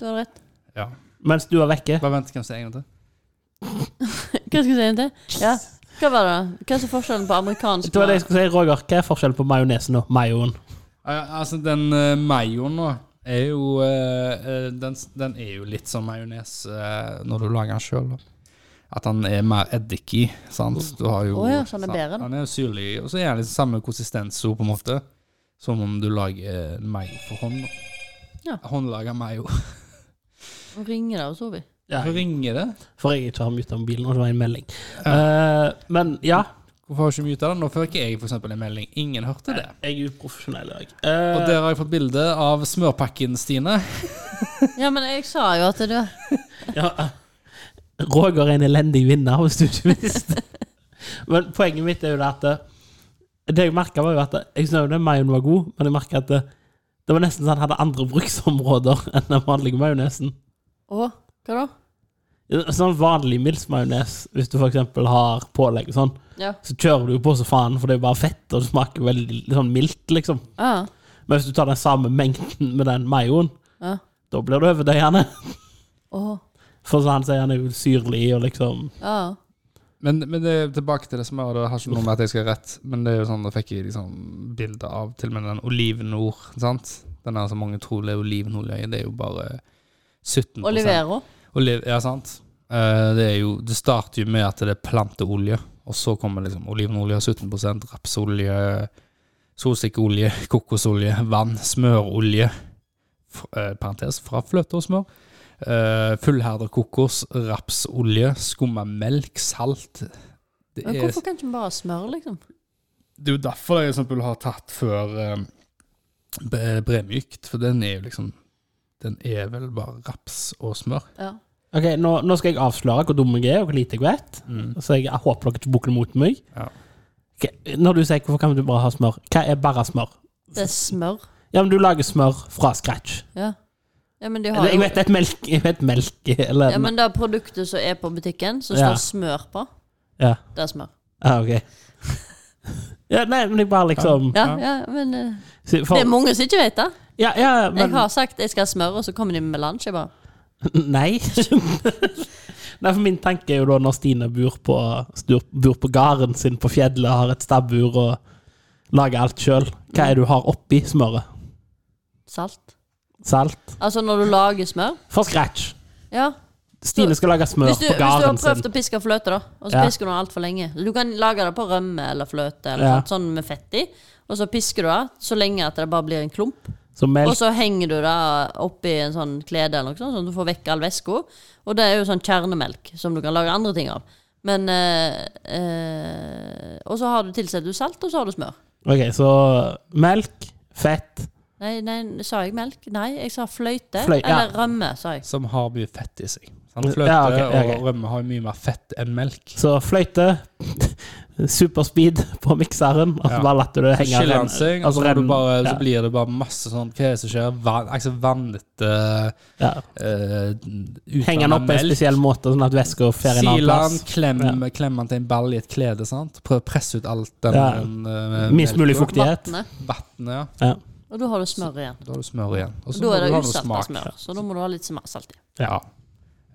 [SPEAKER 1] Du har rett.
[SPEAKER 4] ja.
[SPEAKER 3] Mens du var vekke.
[SPEAKER 4] Bare vent, kanskje en gang til.
[SPEAKER 1] Hva skal jeg si en til? Ja. Hva var det? Hva er forskjellen på amerikansk
[SPEAKER 3] Det var det jeg skulle si, Roger. Hva er forskjellen på majonesen og mayoen?
[SPEAKER 4] Ja, ja, Altså, den uh, mayoen nå er jo eh, eh, den, s- den er jo litt som majones eh, når du lager den sjøl. At den er mer eddik i. sant? Du har jo,
[SPEAKER 1] Å ja, så den er
[SPEAKER 4] sant?
[SPEAKER 1] bedre, da.
[SPEAKER 4] Den er jo syrlig, og så er den liksom samme konsistens jo, på en måte, som om du lager en mayo for hånd. da.
[SPEAKER 1] Ja.
[SPEAKER 4] Håndlaga mayo.
[SPEAKER 1] Nå ringer det, og så vi.
[SPEAKER 3] Ja,
[SPEAKER 4] Hvorfor ringer det?
[SPEAKER 3] for jeg ikke har muta mobilen, og det var en melding. Eh, men ja,
[SPEAKER 4] Hvorfor har du ikke muta den? Nå får ikke jeg for eksempel en melding. Ingen hørte det.
[SPEAKER 3] jeg er uprofesjonell i dag.
[SPEAKER 4] Og
[SPEAKER 3] Eh,
[SPEAKER 4] der har jeg fått bilde av smørpakken, Stine.
[SPEAKER 1] Ja, men jeg sa jo at det
[SPEAKER 3] ja. Roger er en elendig vinner, hvis du ikke visste. Men poenget mitt er jo det at eh, Det jeg merka, var jo at eh, Jeg synes jo den mayoen var god, men jeg merka at eh, det var nesten sånn at den hadde andre bruksområder enn den vanlige majonesen.
[SPEAKER 1] Å, hva da?
[SPEAKER 3] Sånn vanlig milsmajones, hvis du f.eks. har pålegg og sånn,
[SPEAKER 1] Ja.
[SPEAKER 3] så kjører du jo på så faen, for det er bare fett, og det smaker veldig sånn mildt, liksom.
[SPEAKER 1] Ah,
[SPEAKER 3] Men hvis du tar den samme mengden med den mayoen,
[SPEAKER 1] Ja.
[SPEAKER 3] da blir det overdøyende.
[SPEAKER 1] Å.
[SPEAKER 3] For så han sier han er jo syrlig og liksom
[SPEAKER 1] Ja.
[SPEAKER 4] Men, men det er tilbake til det smøret. Det har ikke noe med at jeg skal ha rett, men det er jo sånn, da fikk jeg liksom bilde av til og med den olivenord. sant? Den er så mange tror det er olivenolje i, det er jo bare 17
[SPEAKER 1] Olivero.
[SPEAKER 4] Oliv, ja, sant. Eh, det, er jo, det starter jo med at det er planteolje, og så kommer liksom olivenolje, 17 rapsolje, solsikkeolje, kokosolje, vann, smørolje, f eh, parentes fra fløte og smør, uh, fullherder kokos, rapsolje, skumma melk, salt. Det
[SPEAKER 1] Men
[SPEAKER 4] er,
[SPEAKER 1] hvorfor kan ikke vi bare smøre, liksom?
[SPEAKER 4] det er jo derfor jeg eksempel har tatt før eh, bre- bremykt, for den er jo liksom Den er vel bare raps og smør.
[SPEAKER 1] Ja.
[SPEAKER 3] Ok, nå, nå skal jeg avsløre hvor dum jeg er, og hvor lite jeg vet.
[SPEAKER 1] Mm.
[SPEAKER 3] Så jeg håper dere ikke bukler mot meg.
[SPEAKER 4] Ja.
[SPEAKER 3] Ok, når du sier 'hvorfor kan du bare ha smør', hva er bare smør?
[SPEAKER 1] Det er smør.
[SPEAKER 3] Ja, men du lager smør fra scratch.
[SPEAKER 1] Ja. ja men de har
[SPEAKER 3] Eller, jeg
[SPEAKER 1] jo-
[SPEAKER 3] vet det er et melk, jeg vet melk eller
[SPEAKER 1] Ja, men det produktet som er på butikken, som
[SPEAKER 3] Ja.
[SPEAKER 1] står smør på,
[SPEAKER 3] ja.
[SPEAKER 1] det er smør.
[SPEAKER 3] Ah, ok. ja, nei, men jeg bare liksom
[SPEAKER 1] Ja, ja, men eh,
[SPEAKER 3] si- for-
[SPEAKER 1] Det er mange som ikke vet det.
[SPEAKER 3] Ja, ja,
[SPEAKER 1] Jeg
[SPEAKER 3] men
[SPEAKER 1] har sagt jeg skal ha smør, og så kommer de med melange. Jeg bare
[SPEAKER 3] Nei. Nei, for min tanke er jo da når Stine bor på, stur- bor på gården sin på fjellet, har et stabbur og lager alt sjøl, hva er det du har oppi smøret?
[SPEAKER 1] Salt.
[SPEAKER 3] Salt?
[SPEAKER 1] Altså når du lager smør.
[SPEAKER 3] For scratch.
[SPEAKER 1] Ja.
[SPEAKER 3] Stine skal lage smør
[SPEAKER 1] Hvis du,
[SPEAKER 3] på
[SPEAKER 1] hvis du har
[SPEAKER 3] gården
[SPEAKER 1] prøvd
[SPEAKER 3] sin.
[SPEAKER 1] å piske fløte, da, og så
[SPEAKER 3] Ja.
[SPEAKER 1] pisker du den altfor lenge Du kan lage det på rømme eller fløte, eller
[SPEAKER 3] Ja.
[SPEAKER 1] sånt, sånn med fett i, og så pisker du det så lenge at det bare blir en klump.
[SPEAKER 3] Så
[SPEAKER 1] Og
[SPEAKER 3] melk
[SPEAKER 1] så henger du det oppi en sånn klede eller noe sånt, sånn at du får vekk all væska. Og det er jo sånn kjernemelk som du kan lage andre ting av. Men eh, eh, Og så har du tilsetter du salt, og så har du smør.
[SPEAKER 3] Ok, så melk, fett
[SPEAKER 1] Nei, nei, sa jeg melk? Nei, jeg sa fløyte.
[SPEAKER 3] Fløy- ja.
[SPEAKER 1] Eller rømme, sa jeg.
[SPEAKER 4] Som har mye fett i seg. Sant?
[SPEAKER 3] Ja,
[SPEAKER 4] Fløte
[SPEAKER 3] ok, ja, ok.
[SPEAKER 4] og rømme har mye mer fett enn melk.
[SPEAKER 3] Så fløyte, superspeed på mikseren, og så
[SPEAKER 4] Ja.
[SPEAKER 3] bare lar du det
[SPEAKER 4] Så
[SPEAKER 3] henge
[SPEAKER 4] skiller
[SPEAKER 3] ren-
[SPEAKER 4] han seg, og
[SPEAKER 3] altså
[SPEAKER 4] så, er det
[SPEAKER 3] ren-
[SPEAKER 4] bare,
[SPEAKER 3] ja,
[SPEAKER 4] så blir det bare masse sånn Hva er det som skjer? Van, altså vannete
[SPEAKER 3] ja.
[SPEAKER 4] eh, utvannet
[SPEAKER 3] Henge den opp på en
[SPEAKER 4] melk.
[SPEAKER 3] spesiell måte, sånn at væska fer i en annen
[SPEAKER 4] Sil han,
[SPEAKER 3] plass.
[SPEAKER 4] klem, klem han til en ball i et klede. sant? Prøv å presse ut alt den,
[SPEAKER 3] Ja.
[SPEAKER 4] den eh,
[SPEAKER 3] Minst mulig
[SPEAKER 4] melken.
[SPEAKER 3] fuktighet.
[SPEAKER 1] Vannet.
[SPEAKER 4] Vannet, ja.
[SPEAKER 3] Ja.
[SPEAKER 1] Og da har du smør igjen.
[SPEAKER 4] Da har du smør igjen. Og så
[SPEAKER 1] Da
[SPEAKER 4] må
[SPEAKER 1] er
[SPEAKER 4] du
[SPEAKER 1] det
[SPEAKER 4] ha noe
[SPEAKER 1] usalta
[SPEAKER 4] smak.
[SPEAKER 1] smør, så da må du ha litt sma- salt i.
[SPEAKER 4] Ja.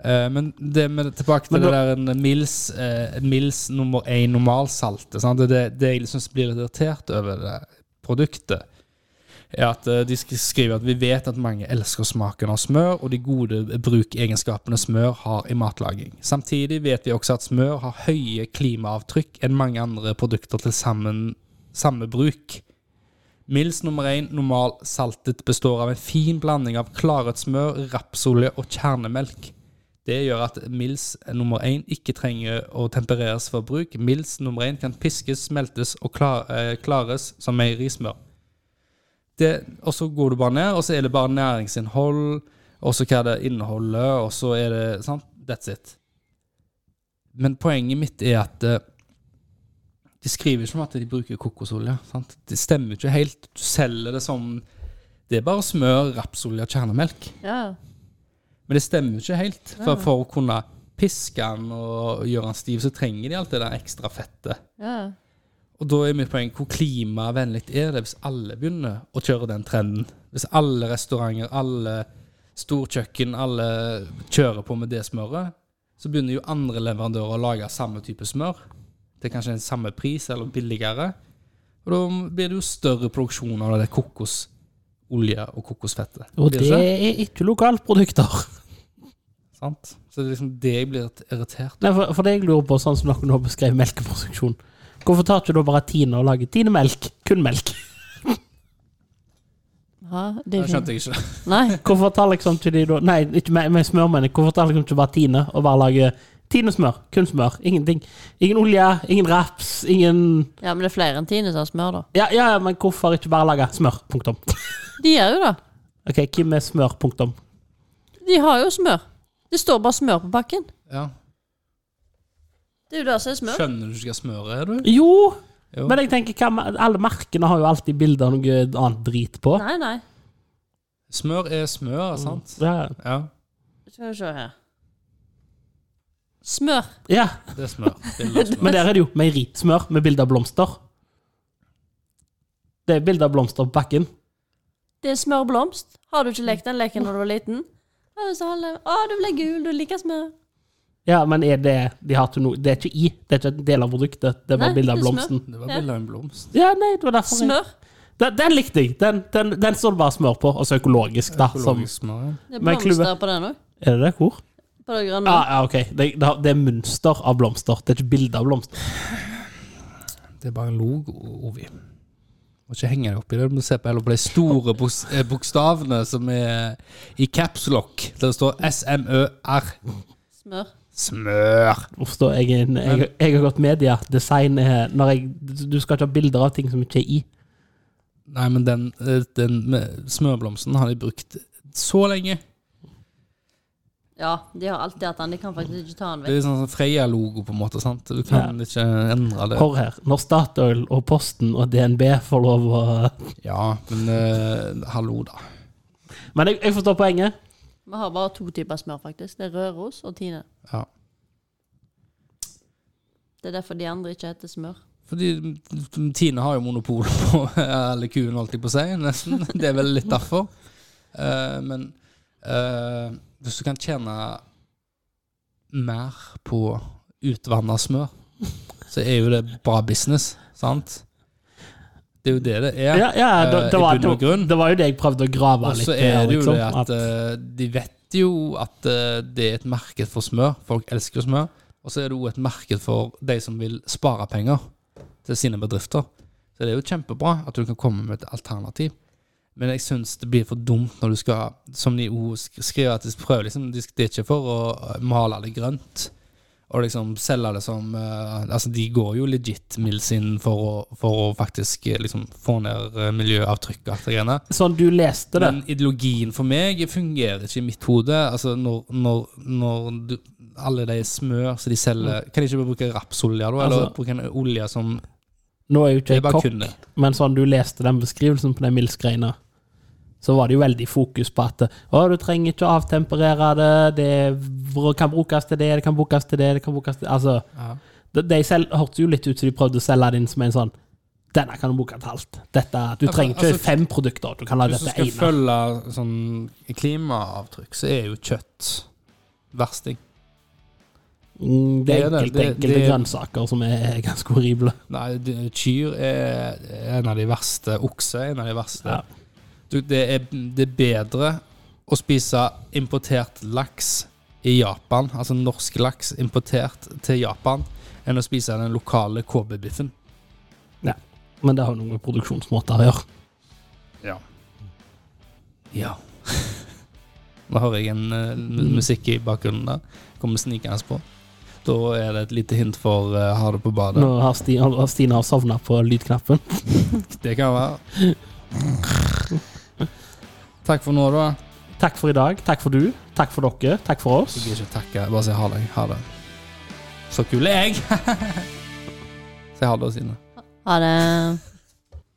[SPEAKER 4] Eh, men det med, tilbake til
[SPEAKER 3] Men
[SPEAKER 4] det der en Mills, eh, Mills nummer én normalsalte. sant? Det, det, det jeg liksom blir litt irritert over det produktet, er at eh, de sk- skriver at vi vet at mange elsker smaken av smør, og de gode brukegenskapene smør har i matlaging. Samtidig vet vi også at smør har høye klimaavtrykk enn mange andre produkter til sammen, samme bruk. Mils nummer én, normal saltet, består av en fin blanding av klaret smør, rapsolje og kjernemelk. Det gjør at Mils nummer én ikke trenger å tempereres for bruk. Mils nummer én kan piskes, smeltes og klar, eh, klares som meierismør. Det, og så går du bare ned, og så er det bare næringsinnhold, og så hva det inneholder, og så er det sant? That's it. Men poenget mitt er at eh, de skriver ikke om at de bruker kokosolje. Sant? Det stemmer jo ikke helt. Du selger det som Det er bare smør, rapsolje og kjernemelk.
[SPEAKER 1] Ja,
[SPEAKER 4] Men det stemmer jo ikke helt. For, for å kunne piske den og gjøre den stiv, så trenger de alt det der ekstra fettet.
[SPEAKER 1] ja.
[SPEAKER 4] Og da er mitt poeng hvor klimavennlig er det hvis alle begynner å kjøre den trenden? Hvis alle restauranter, alle storkjøkken, alle kjører på med det smøret, så begynner jo andre leverandører å lage samme type smør. Det er kanskje en samme pris eller billigere. Og da blir det jo større produksjon av det kokosolje og kokosfettet.
[SPEAKER 3] Og
[SPEAKER 4] Blir
[SPEAKER 3] det er ikke lokalprodukter.
[SPEAKER 4] sant? Så det er liksom det jeg blir irritert
[SPEAKER 3] Nei, for, for det jeg lurer på, sånn som dere nå beskrev melkeproduksjon Hvorfor tar ikke du bare Tine og lager Tine-melk? Kun melk.
[SPEAKER 1] ja det
[SPEAKER 4] Det
[SPEAKER 1] er fint.
[SPEAKER 4] skjønte jeg ikke.
[SPEAKER 1] Nei.
[SPEAKER 3] Hvorfor tar liksom ikke de da Nei, ikke med, med smør, mener jeg. Hvorfor tar liksom ikke bare Tine og bare lager Tine-smør? Kun smør. Ingenting. Ingen olje, ingen raps, ingen
[SPEAKER 1] Ja, men det er flere enn Tine som har smør, da.
[SPEAKER 3] Ja, ja, ja, men hvorfor ikke bare lage smør? Punktum.
[SPEAKER 1] De gjør jo det.
[SPEAKER 3] Ok, hvem er smør? Punktum.
[SPEAKER 1] De har jo smør. Det står bare smør på pakken.
[SPEAKER 4] Ja.
[SPEAKER 1] Det er jo det som er smør.
[SPEAKER 4] Skjønner du ikke hva smør er, du?
[SPEAKER 3] Jo,
[SPEAKER 4] Jo.
[SPEAKER 3] men jeg tenker hva, med- alle merkene har jo alltid bilder av noe annet drit på.
[SPEAKER 1] Nei, nei.
[SPEAKER 4] Smør er smør,
[SPEAKER 3] Mm.
[SPEAKER 4] sant?
[SPEAKER 3] Ja.
[SPEAKER 4] Ja,
[SPEAKER 1] Skal vi se her. Smør.
[SPEAKER 3] ja,
[SPEAKER 4] det er smør. Bilder av smør.
[SPEAKER 3] men der er det jo meierismør med bilde av blomster. Det er bilde av blomster på pakken.
[SPEAKER 1] Det er smørblomst. Har du ikke lekt den leken når du var liten? Ja, så har jeg- Å, du ble gul, du liker smør.
[SPEAKER 3] Ja, men er det de har til noe Det er ikke i, det er ikke en del av produktet. Det er
[SPEAKER 1] Nei,
[SPEAKER 3] bare bilde
[SPEAKER 1] det
[SPEAKER 3] av
[SPEAKER 1] er smør.
[SPEAKER 3] blomsten.
[SPEAKER 4] Det var
[SPEAKER 1] Ja.
[SPEAKER 4] bilde av en blomst.
[SPEAKER 3] Ja, nei, det var derfor jeg,
[SPEAKER 1] Smør.
[SPEAKER 3] den, den likte jeg. Den, den, den står det bare smør på, og så økologisk, da. Som,
[SPEAKER 4] Økologisk smør, ja.
[SPEAKER 1] Det er
[SPEAKER 3] Men klubbe-
[SPEAKER 1] blomster på den òg.
[SPEAKER 3] er det det? Hvor?
[SPEAKER 1] På det grønne.
[SPEAKER 3] Ja, ja, ok. Det, det har- det er mønster av blomster. Det er ikke bilde av blomster.
[SPEAKER 4] Det er bare en logo, Ovi. Må ikke henge deg opp i det. Du må se på heller på de store boks eh, bokstavene som er i capslock, der det står SMØR.
[SPEAKER 1] Smør.
[SPEAKER 4] Smør.
[SPEAKER 3] Uff, da, jeg, er en- jeg, jeg har gått media. Design er når jeg, Du skal ikke ha bilder av ting som ikke er i.
[SPEAKER 4] Nei, men den, eh, den med smørblomsten har de brukt så lenge.
[SPEAKER 1] Ja, de har alltid hatt den. De kan faktisk ikke ta den
[SPEAKER 4] Det er
[SPEAKER 1] vekk.
[SPEAKER 4] litt sånn som Freia-logo, på en måte. sant? Du kan ikke endre det.
[SPEAKER 3] Hør her. Når Statoil og Posten og DNB får lov å
[SPEAKER 4] Ja, men eh, hallo, da.
[SPEAKER 3] Men jeg, jeg forstår poenget.
[SPEAKER 1] Vi har bare to typer smør, faktisk. Det er Røros og Tine.
[SPEAKER 4] Ja.
[SPEAKER 1] Det er derfor de andre ikke heter smør.
[SPEAKER 4] Fordi Tine har jo monopol på alle kuene, holdt jeg på å si. Nesten. Det er vel litt derfor. Eh, men eh, hvis du kan tjene mer på utvanna smør, så er jo det bra business, sant? Det er jo det det er.
[SPEAKER 3] Ja, ja
[SPEAKER 4] Eh,
[SPEAKER 3] det, det,
[SPEAKER 4] i
[SPEAKER 3] var,
[SPEAKER 4] bunn og
[SPEAKER 3] det,
[SPEAKER 4] grunn.
[SPEAKER 3] var jo det jeg prøvde å grave
[SPEAKER 4] Og
[SPEAKER 3] litt
[SPEAKER 4] så er det jo
[SPEAKER 3] liksom,
[SPEAKER 4] det at eh, de vet jo at eh, det er et marked for smør. Folk elsker jo smør. Og så er det jo et marked for de som vil spare penger til sine bedrifter. Så det er jo kjempebra at du kan komme med et alternativ. Men jeg syns det blir for dumt når du skal, som de o- sk- skriver at de prøver liksom, de- Det er ikke for å eh, male det grønt og liksom selge det som eh, Altså, de går jo legit Mills inn for å, for å faktisk eh, liksom få ned eh, miljøavtrykket og alt det greiene.
[SPEAKER 3] Sånn du leste det.
[SPEAKER 4] Men ideologien for meg fungerer ikke i mitt hode. Altså, når, når, når du, alle de smør som de selger Kan de ikke bare bruke rapsolje, da? Eller
[SPEAKER 3] Altså-
[SPEAKER 4] bruke en olje som
[SPEAKER 3] Nå er jo ikke
[SPEAKER 4] Det er
[SPEAKER 3] jeg
[SPEAKER 4] bare
[SPEAKER 3] kokk,
[SPEAKER 4] kunne.
[SPEAKER 3] men sånn du leste den beskrivelsen på den milsgreina, så var det jo veldig fokus på at å, du trenger ikke å avtemperere det, det vr- kan brukes til det, det kan brukes til det, det kan brukes til Altså, de, de selv hørtes jo litt ut som de prøvde å selge det inn som en sånn Denne kan du bruke til alt. Dette, du
[SPEAKER 4] Ja, for-
[SPEAKER 3] trenger ikke
[SPEAKER 4] altså,
[SPEAKER 3] fem produkter, du kan ha
[SPEAKER 4] Hvis du
[SPEAKER 3] dette
[SPEAKER 4] skal
[SPEAKER 3] ene.
[SPEAKER 4] følge sånn klimaavtrykk, så er jo kjøtt versting.
[SPEAKER 3] Mm, Det er
[SPEAKER 4] Det er det,
[SPEAKER 3] enkelte,
[SPEAKER 4] det-
[SPEAKER 3] enkelte
[SPEAKER 4] det-
[SPEAKER 3] grønnsaker som er ganske horrible.
[SPEAKER 4] Nei, d- kyr er en av de verste. Okse er en av de verste.
[SPEAKER 3] Ja.
[SPEAKER 4] Du, det, er, det er bedre å spise importert laks i Japan, altså norsk laks importert til Japan, enn å spise den lokale KB-biffen.
[SPEAKER 3] Men det har jo noe med produksjonsmåter å gjøre.
[SPEAKER 4] Ja. Ja. Nå hører jeg en eh, mu- musikk i bakgrunnen der. Kommer snikende på. Da er det et lite hint for eh, ha det på badet.
[SPEAKER 3] Nå har Stina, Stina har sovna på lydknappen.
[SPEAKER 4] Det kan være. Takk for nå, da.
[SPEAKER 3] Takk for i dag. Takk for du. Takk for dere. Takk for oss.
[SPEAKER 4] Jeg gidder ikke takke. Bare si ha det. Ha det. Så kul er jeg! si ha det, Sine.
[SPEAKER 1] Ha det.